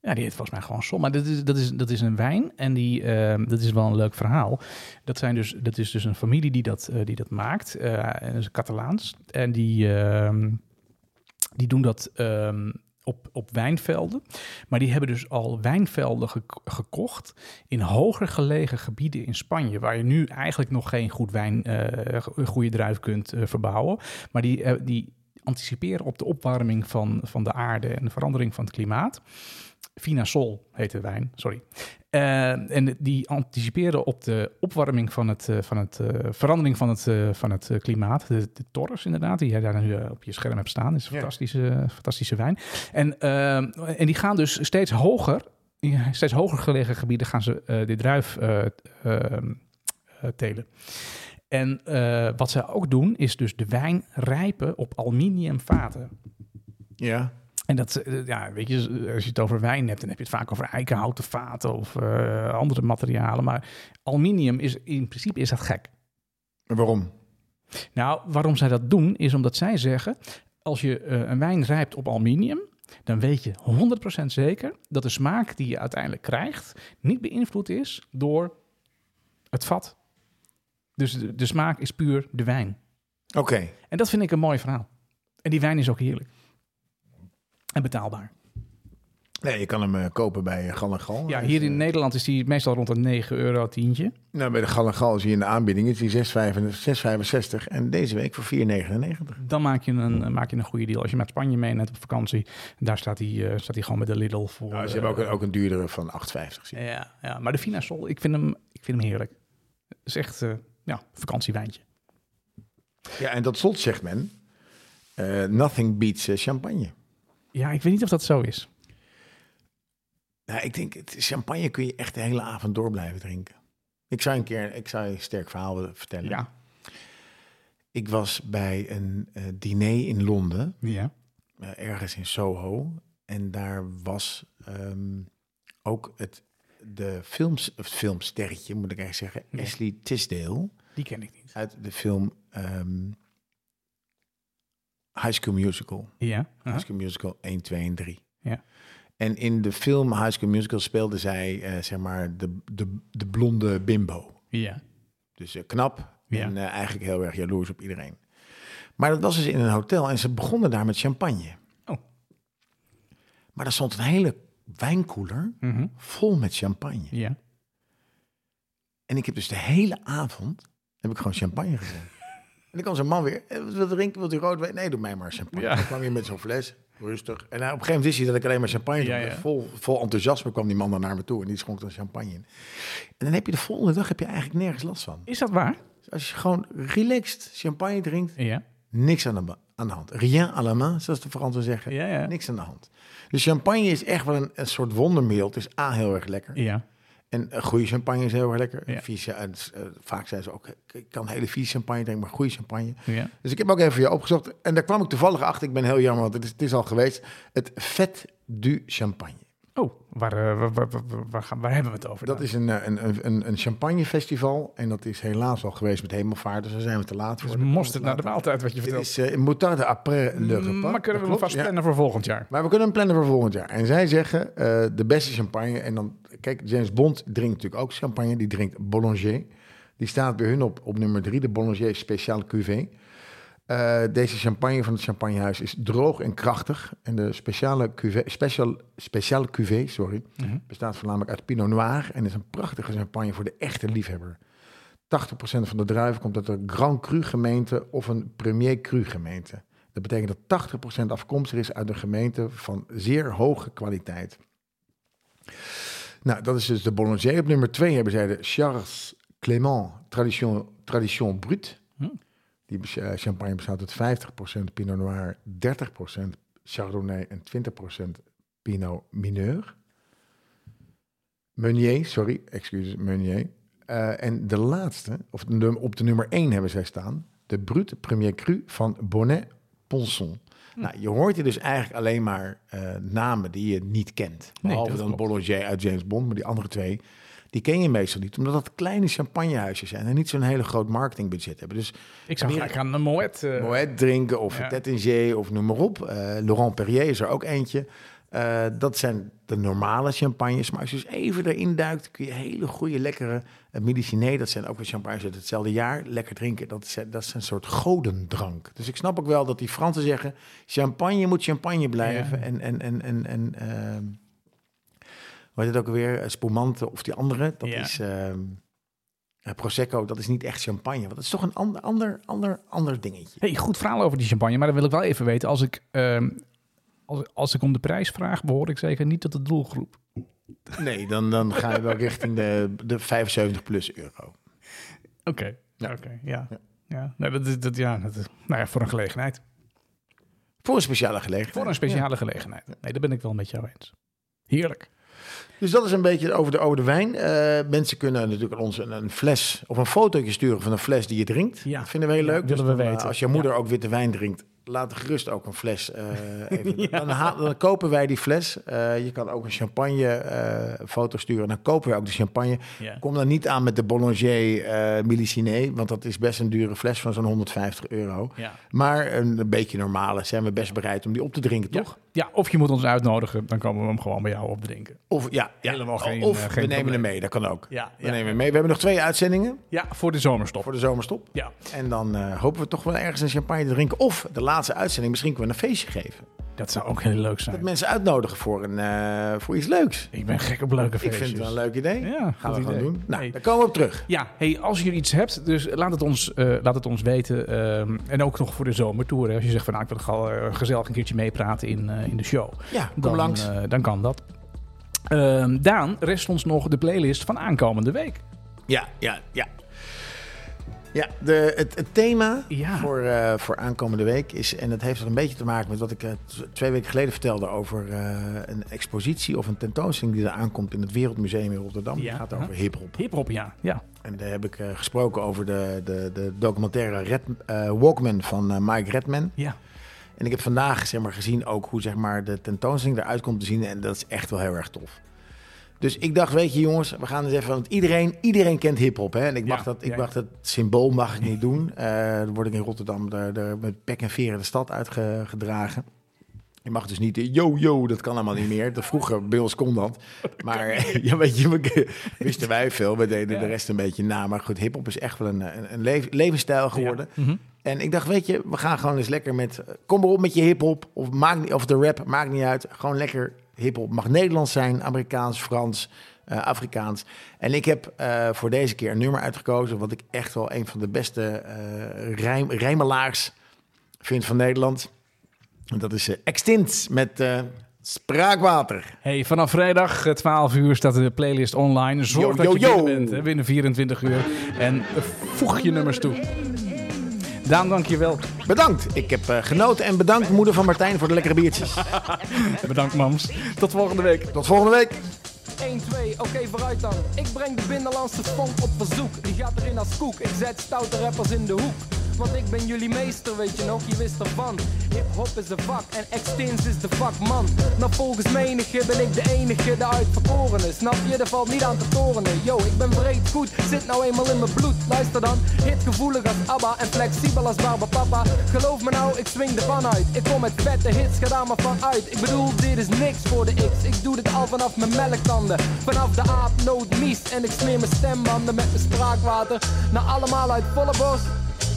ja, die heet volgens mij gewoon Sol. Maar dat is, dat is, dat is een wijn en die, eh, dat is wel een leuk verhaal. Dat, zijn dus, dat is dus een familie die dat, eh, die dat maakt. eh, en dat is Catalaans. En die, ehm, die doen dat ehm, op, op wijnvelden. Maar die hebben dus al wijnvelden gek- gekocht in hoger gelegen gebieden in Spanje, waar je nu eigenlijk nog geen goed wijn, eh, go- goede druif kunt eh, verbouwen. Maar die, eh, die anticiperen op de opwarming van, van de aarde en de verandering van het klimaat. Vinasol heet de wijn, sorry. Eh, en die anticiperen op de opwarming van het, eh, van het eh, verandering van het, eh, van het eh, klimaat. De, de Torres inderdaad, die jij daar nu eh, op je scherm hebt staan, is een
Ja.
fantastische, eh, fantastische wijn. En, eh, en die gaan dus steeds hoger, in steeds hoger gelegen gebieden gaan ze eh, dit druif eh, eh, eh, telen. En eh, wat zij ook doen, is dus de wijn rijpen op aluminiumvaten.
Ja.
En dat, eh, ja, weet je, als je het over wijn hebt, dan heb je het vaak over eikenhouten vaten of eh, andere materialen. Maar aluminium is in principe is dat gek.
En waarom?
Nou, waarom zij dat doen, is omdat zij zeggen: als je eh, een wijn rijpt op aluminium, dan weet je 100% zeker dat de smaak die je uiteindelijk krijgt niet beïnvloed is door het vat. Dus de, de smaak is puur de wijn.
Oké.
En dat vind ik een mooi verhaal. En die wijn is ook heerlijk. En betaalbaar.
Nee, je kan hem eh, kopen bij eh, Gal en Gal.
Ja,
Dus,
hier
eh,
in Nederland Oh, is die meestal rond een 9 euro tientje.
Nou, bij de Gal en Gal zie je in de aanbieding is die 6,65 6,65 en deze week voor 4,99.
Dan maak je een, eh, maak je een goede deal. Als je met Spanje mee net op vakantie, daar staat die, eh, staat die gewoon met de Lidl voor.
Nou, ze hebben ook
eh,
een, ook een duurdere van 8,50. zie ik.
Ja, ja, maar de Vinasol, ik vind hem, ik vind hem heerlijk. Het is echt eh ja, vakantiewijntje.
Ja, en dat slot zegt men, eh, nothing beats eh, champagne.
Ja, ik weet niet of dat zo is.
Nou, ik denk, het, champagne kun je echt de hele avond door blijven drinken. Ik zou een keer, ik zou je een sterk verhaal willen vertellen.
Ja.
Ik was bij een eh, diner in Londen,
Ja.
eh, ergens in Soho. En daar was ehm, ook het, de films, het filmsterretje, moet ik eigenlijk zeggen,
Ja.
Ashley Tisdale.
Die ken ik niet.
Uit de film ehm, High School Musical.
Ja.
High School Musical 1, 2 en 3.
Uh-huh. Ja.
En in de film High School Musical speelde zij, eh, zeg maar, de, de, de blonde bimbo.
Ja.
Dus eh, knap
Ja.
en eh, eigenlijk heel erg jaloers op iedereen. Maar dat was dus in een hotel en ze begonnen daar met champagne.
Oh.
Maar daar stond een hele wijnkoeler
Mhm.
vol met champagne.
Ja.
En ik heb dus de hele avond heb ik gewoon champagne
*laughs*
gedronken. En dan kwam zo'n man weer, eh, wat wil je drinken, wilt u rood wijn? Nee, doe mij maar champagne.
Ja.
Dan kwam je met zo'n fles, rustig. En nou, op een gegeven moment wist hij dat ik alleen maar champagne
Ja,
dronk.
ja.
Vol, vol enthousiasme kwam die man dan naar me toe en die schonk dan champagne in. En dan heb je de volgende dag heb je eigenlijk nergens last van.
Is dat waar?
Dus als je gewoon relaxed champagne drinkt,
Ja.
niks aan de, ba- aan de hand. Rien à la main, zoals de Fransen zeggen.
Ja, ja.
Niks aan de hand. Dus champagne is echt wel een, een soort wondermiddel. Het is A, heel erg lekker.
Ja.
En eh, goede champagne is heel erg lekker.
Ja.
Vieze, en, eh, vaak zijn ze ook, eh, ik kan hele vieze champagne drinken, maar goede champagne.
Ja.
Dus ik heb ook even voor jou opgezocht. En daar kwam ik toevallig achter. Ik ben heel jammer, want het is, het is al geweest. Het Vet du Champagne.
Oh, waar, eh, waar, waar, waar, waar gaan, waar hebben we het over?
Dat
dan?
is een, eh, een, een, een- een champagnefestival. En dat is helaas al geweest met hemelvaart. Dus daar zijn we te laat voor.
Het is mosterd naar de maaltijd wat je
Dit
vertelt. Mm,
is eh moutarde après le
Maar
repas.
kunnen we
Dat
hem
klopt,
vast
ja.
plannen voor volgend jaar?
Maar we kunnen hem plannen voor volgend jaar. En zij zeggen eh, de beste champagne. En dan, kijk, James Bond drinkt natuurlijk ook champagne. Die drinkt Bollinger. Die staat bij hun op, op nummer drie, de Bollinger Speciaal Cuvée. Eh, deze champagne van het Champagnehuis is droog en krachtig. En de speciale cuvée, special, speciale cuvée sorry,
Mhm.
bestaat voornamelijk uit Pinot Noir. En is een prachtige champagne voor de echte liefhebber. 80% van de druiven komt uit een Grand Cru gemeente of een Premier Cru gemeente. Dat betekent dat 80% afkomstig is uit een gemeente van zeer hoge kwaliteit. Nou, dat is dus de Bollinger. Op nummer 2 hebben zij de Charles Clément Tradition, Tradition Brute.
Hm.
Die bes- eh, champagne bestaat uit 50% Pinot Noir, 30% Chardonnay en 20% Pinot Mineur. Meunier, sorry, excuses, Meunier. Eh, en de laatste, of de num- op de nummer 1 hebben zij staan, de Brut Premier Cru van Bonnet Ponson.
Hm.
Nou, je hoort hier dus eigenlijk alleen maar eh, namen die je niet kent. Behalve
dat
dan
klopt.
Bollinger uit James Bond, maar die andere twee Die ken je meestal niet, omdat dat kleine champagnehuisjes zijn en niet zo'n hele groot marketingbudget hebben. Dus
Ik zou
Meer-
graag aan een Moet. eh,
Moet drinken of
Ja.
Tettinger of noem maar op. Eh, Laurent Perrier is er ook eentje. Eh, dat zijn de normale champagnes. Maar als je dus even erin duikt, kun je hele goede, lekkere eh, Midi-Chinees. Dat zijn ook weer champagnes uit hetzelfde jaar. Lekker drinken, dat is, dat is een soort godendrank. Dus ik snap ook wel dat die Fransen zeggen... champagne moet champagne blijven.
Ja.
En, en, en, en, en ehm, hoe heet het ook weer? Eh, Spumante of die andere. Dat
Ja.
is... ehm, eh, Prosecco, dat is niet echt champagne. Want dat is toch een ander, ander, ander, ander dingetje.
Hey, goed verhaal over die champagne, maar dan wil ik wel even weten. Als ik, ehm, als, als ik om de prijs vraag, behoor ik zeker niet tot de doelgroep.
Nee, dan, dan ga je wel richting de, de 75 plus euro.
Oké,
Ja.
oké, ja. ja. Nee, dat, is- dat, ja dat, is- nou ja, voor een gelegenheid.
Voor een speciale gelegenheid.
Voor een speciale gelegenheid. Nee, daar ben ik wel met jou eens. Heerlijk.
Ja. Dus dat is een beetje over de oude wijn. Eh, mensen kunnen natuurlijk aan ons een, een fles of een fotootje sturen van een fles die je drinkt.
Ja.
Dat vinden we heel
Ja,
leuk.
willen we
dan, eh,
weten.
Als je moeder ook witte wijn drinkt, laat gerust ook een
*laughs*
fles. eh, even. dan, haal- dan kopen wij die fles. Eh, je kan ook een champagne eh, foto sturen. Dan kopen wij ook de champagne.
Ja.
Kom dan niet aan met de Bollinger eh Miliciné, want dat is best een dure fles van zo'n 150 euro.
Ja.
Maar een, een beetje normale zijn we best bereid om die op te drinken,
Ja.
toch?
ja, of je moet ons uitnodigen, dan komen we hem gewoon bij jou opdrinken.
Of ja, ja.
Helemaal geen,
Of
eh, geen
we nemen
probleem.
hem mee, dat kan ook.
Ja,
we
ja.
nemen hem mee. We hebben nog twee uitzendingen
Ja, voor de zomerstop.
voor de zomerstop.
Ja.
En dan eh, hopen we toch wel ergens een champagne te drinken. Of de laatste uitzending, misschien kunnen we een feestje geven.
Dat zou ook heel leuk zijn.
Dat mensen uitnodigen voor, een, eh, voor iets leuks.
Ik ben gek op leuke
Ik
feestjes.
vind het wel een leuk idee.
Ja,
Gaan we
goed
gewoon
idee.
doen. Nou,
Hey.
daar komen we op terug.
Ja, hey, als je iets hebt, dus laat het ons, eh, laat het ons weten. ehm, en ook nog voor de zomertour. Hè. Als je zegt van nou, ik wil gewoon eh, gezellig een keertje meepraten in, eh, in de show.
Ja, kom
dan,
langs.
eh, dan kan dat. Ehm, Daan, rest ons nog de playlist van aankomende week.
Ja, ja, ja. Ja, de, het, het thema
Ja.
voor, eh, voor aankomende week is, en dat heeft er een beetje te maken met wat ik eh, t- twee weken geleden vertelde over eh, een expositie of een tentoonstelling die er aankomt in het Wereldmuseum in Rotterdam.
Ja.
Het gaat over hip-hop.
Hiphop, ja. ja.
En daar heb ik eh, gesproken over de, de, de documentaire Red, eh, Walkman van eh, Mike Redman.
Ja,
En ik heb vandaag zeg maar, gezien ook hoe zeg maar, de tentoonstelling eruit komt te zien. En dat is echt wel heel erg tof. Dus ik dacht, weet je jongens, we gaan eens even... Want iedereen, iedereen kent hiphop, hè? En ik mag,
Ja,
dat, ik
ja.
mag dat symbool mag ik niet doen. Eh dan word ik in Rotterdam daar, daar met pek en veren de stad uitgedragen. Je mag dus niet, de yo, yo, dat kan allemaal niet meer. Dat vroeger, bij ons kon dat. Maar eh, *laughs* ja, weet je, we, wisten wij veel. We deden de
Ja.
rest een beetje na. Maar goed, hiphop is echt wel een, een, een leef- levensstijl geworden. En ik dacht, weet je, we gaan gewoon eens lekker met... eh, Kom erop met je hiphop of, maakt niet- of de rap, maakt niet uit. Gewoon lekker hiphop. Mag Nederlands zijn, Amerikaans, Frans, eh, Afrikaans. En ik heb eh, voor deze keer een nummer uitgekozen... wat ik echt wel een van de beste eh rijm, rijmelaars vind van Nederland. En dat is eh, Extint met eh, Spraakwater.
Hey, vanaf vrijdag eh, 12 uur staat de playlist online. Zorg
Yo,
dat je
yo, yo.
binnen bent hè, binnen 24 uur. En eh, voeg je nummers toe. Daan, dank je wel.
Bedankt. Ik heb eh, genoten en bedankt moeder van Martijn voor de lekkere biertjes.
Bedankt, mams. Tot volgende week.
Tot volgende week.
1, 2, oké vooruit dan. Ik breng de binnenlandse funk op verzoek. Die gaat erin als koek, ik zet stoute rappers in de hoek. Want ik ben jullie meester, weet je nog, je wist ervan. Hip-hop is een vak en extins is de vakman. Nou, volgens menige ben ik de enige, de uitverkorene. Snap je, er valt niet aan te torenen. Yo, ik ben breed goed, zit nou eenmaal in mijn bloed. Luister dan, hitgevoelig als ABBA en flexibel als Barba Papa. Geloof me nou, ik swing ervan uit. Ik kom met vette hits, ga daar maar van uit. Ik bedoel, dit is niks voor de X. Ik doe dit al vanaf mijn melktanden. Vanaf de aap nood niest. En ik smeer mijn stembanden met mijn spraakwater. Nou, allemaal uit volle borst.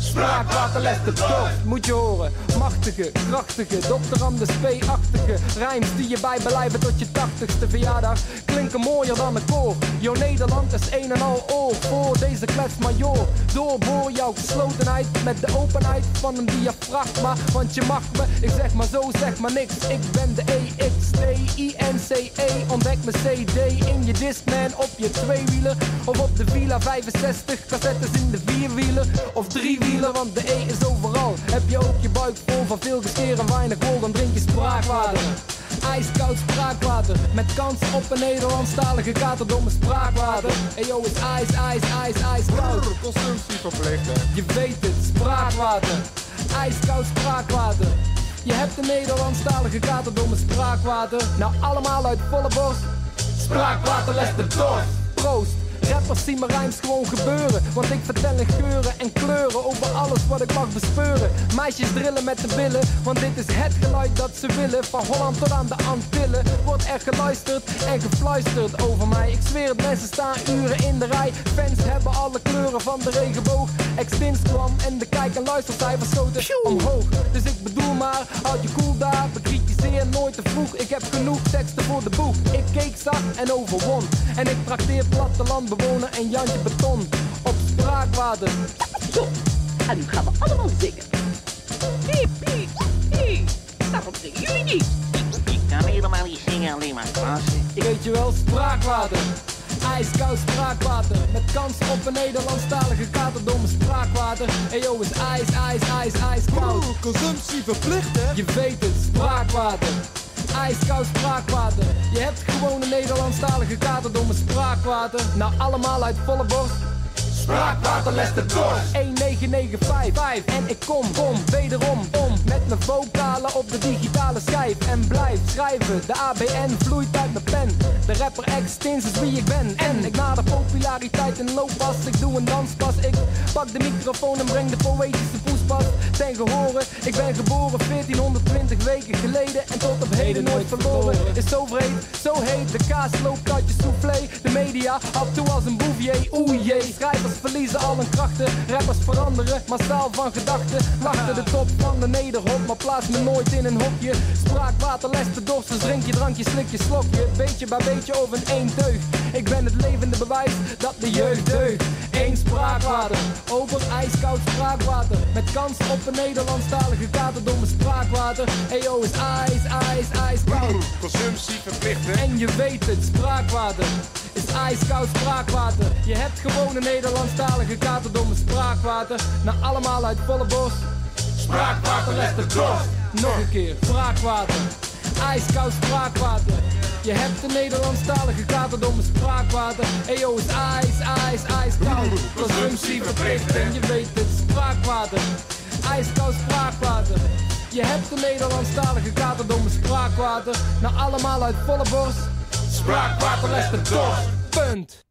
Spraakwater les de dorst, moet je horen. Machtige, krachtige, dokteram de spee-achtige. Rijms die je bijbelijven tot je tachtigste verjaardag. Klinken mooier dan een koor. Jo, Nederland is een en al oor. Voor deze klets majoor. Doorboor jouw geslotenheid met de openheid van een diafragma. Want je mag me, ik zeg maar zo, zeg maar niks. Ik ben de E E-X-T-I-N-C-E. E. Ontdek mijn CD in je Discman op je tweewieler. Of op de Villa 65, cassettes in de vierwieler. Of driewieler, want de E is overal. Heb je ook je buik vol van veel gesteer en weinig wol, dan drink je spraakwater. Ijskoud spraakwater, met kans op een Nederlandstalige katerdomme spraakwater. Hey yo, het is ijs, ijs, ijs, ijskoud.
Consumptie verplicht, hè?
Je weet het, spraakwater. Ijskoud spraakwater. Je hebt de Nederlandstalige katerdomme spraakwater. Nou allemaal uit volle borst. Spraakwater les de dorst. Proost. Rappers zien mijn rijms gewoon gebeuren. Want ik vertel in geuren en kleuren over alles wat ik mag bespeuren. Meisjes drillen met de billen, want dit is het geluid dat ze willen. Van Holland tot aan de Antillen wordt er geluisterd en gefluisterd over mij. Ik zweer het, mensen staan uren in de rij. Fans hebben alle kleuren van de regenboog. Extins kwam en de kijk- en luistercijfers schoten omhoog. Dus ik bedoel maar, houd je cool daar. Bekritiseer nooit te vroeg. Ik heb genoeg teksten voor de boeg. Ik keek zag en overwon. En ik trakteer plattelandbewoner en Jantje Beton. Op spraakwaarde.
Zo, en nu gaan we allemaal zingen. Piep, piep, piep. Waarom zingen jullie niet?
Ik kan helemaal niet zingen, alleen maar klassen.
Weet je wel, spraakwater. Ijskoud spraakwater. Met kans op een Nederlandstalige katerdomme spraakwater. Hey yo, is ijs, ijs, ijs, ijskoud.
Oeh, consumptie verplicht, hè?
Je weet het, spraakwater. Ijskoud spraakwater. Je hebt gewoon een Nederlandstalige katerdomme spraakwater. Nou, allemaal uit volle borst. Spraakwater les de dorst. 19955 en ik kom, kom, wederom om met mijn vocalen op de digitale schijf en blijf schrijven. De ABN vloeit uit mijn pen. De rapper Extins is wie ik ben en ik nader populariteit en looppas. Ik doe een danspas. Ik pak de microfoon en breng de poëtische poespas. Ten gehoren, ik ben geboren 1420 weken geleden en tot op heden nooit verloren. Is zo vreed, zo heet. De kaas loopt uit je soufflé. De media af toe als een bouvier. Oei jee, schrijvers verliezen al hun krachten. Rappers veranderen, massaal van gedachten. Lachten de top van de nederhop, maar plaats me nooit in een hokje. Spraak, water, les te dorst, dus drink je drankje, slik je slokje. Beetje bij beetje over een één deug. Ik ben het levende bewijs dat de jeugd deugt. Eén spraakwater, over ijskoud spraakwater. Met kans op een Nederlandstalige katerdomme spraakwater. Eyo is ijs, ijs, ijskoud.
Consumptie verplicht, hè?
En je weet het, spraakwater is ijskoud spraakwater. Je hebt gewoon een Nederlandstalige katerdomme spraakwater. Nou, allemaal uit volle bos. Spraakwater les de dorst. Nog een keer, spraakwater, ijskoud spraakwater. Je hebt een Nederlandstalige katerdomme spraakwater. Eyo is ijs, ijs, ijskoud. Consumptie verplicht en je weet het, spraakwater, ijskoud spraakwater. Je hebt de Nederlandstalige katerdomme spraakwater. Nou allemaal uit volle borst. Spraakwater les de dorst. Punt.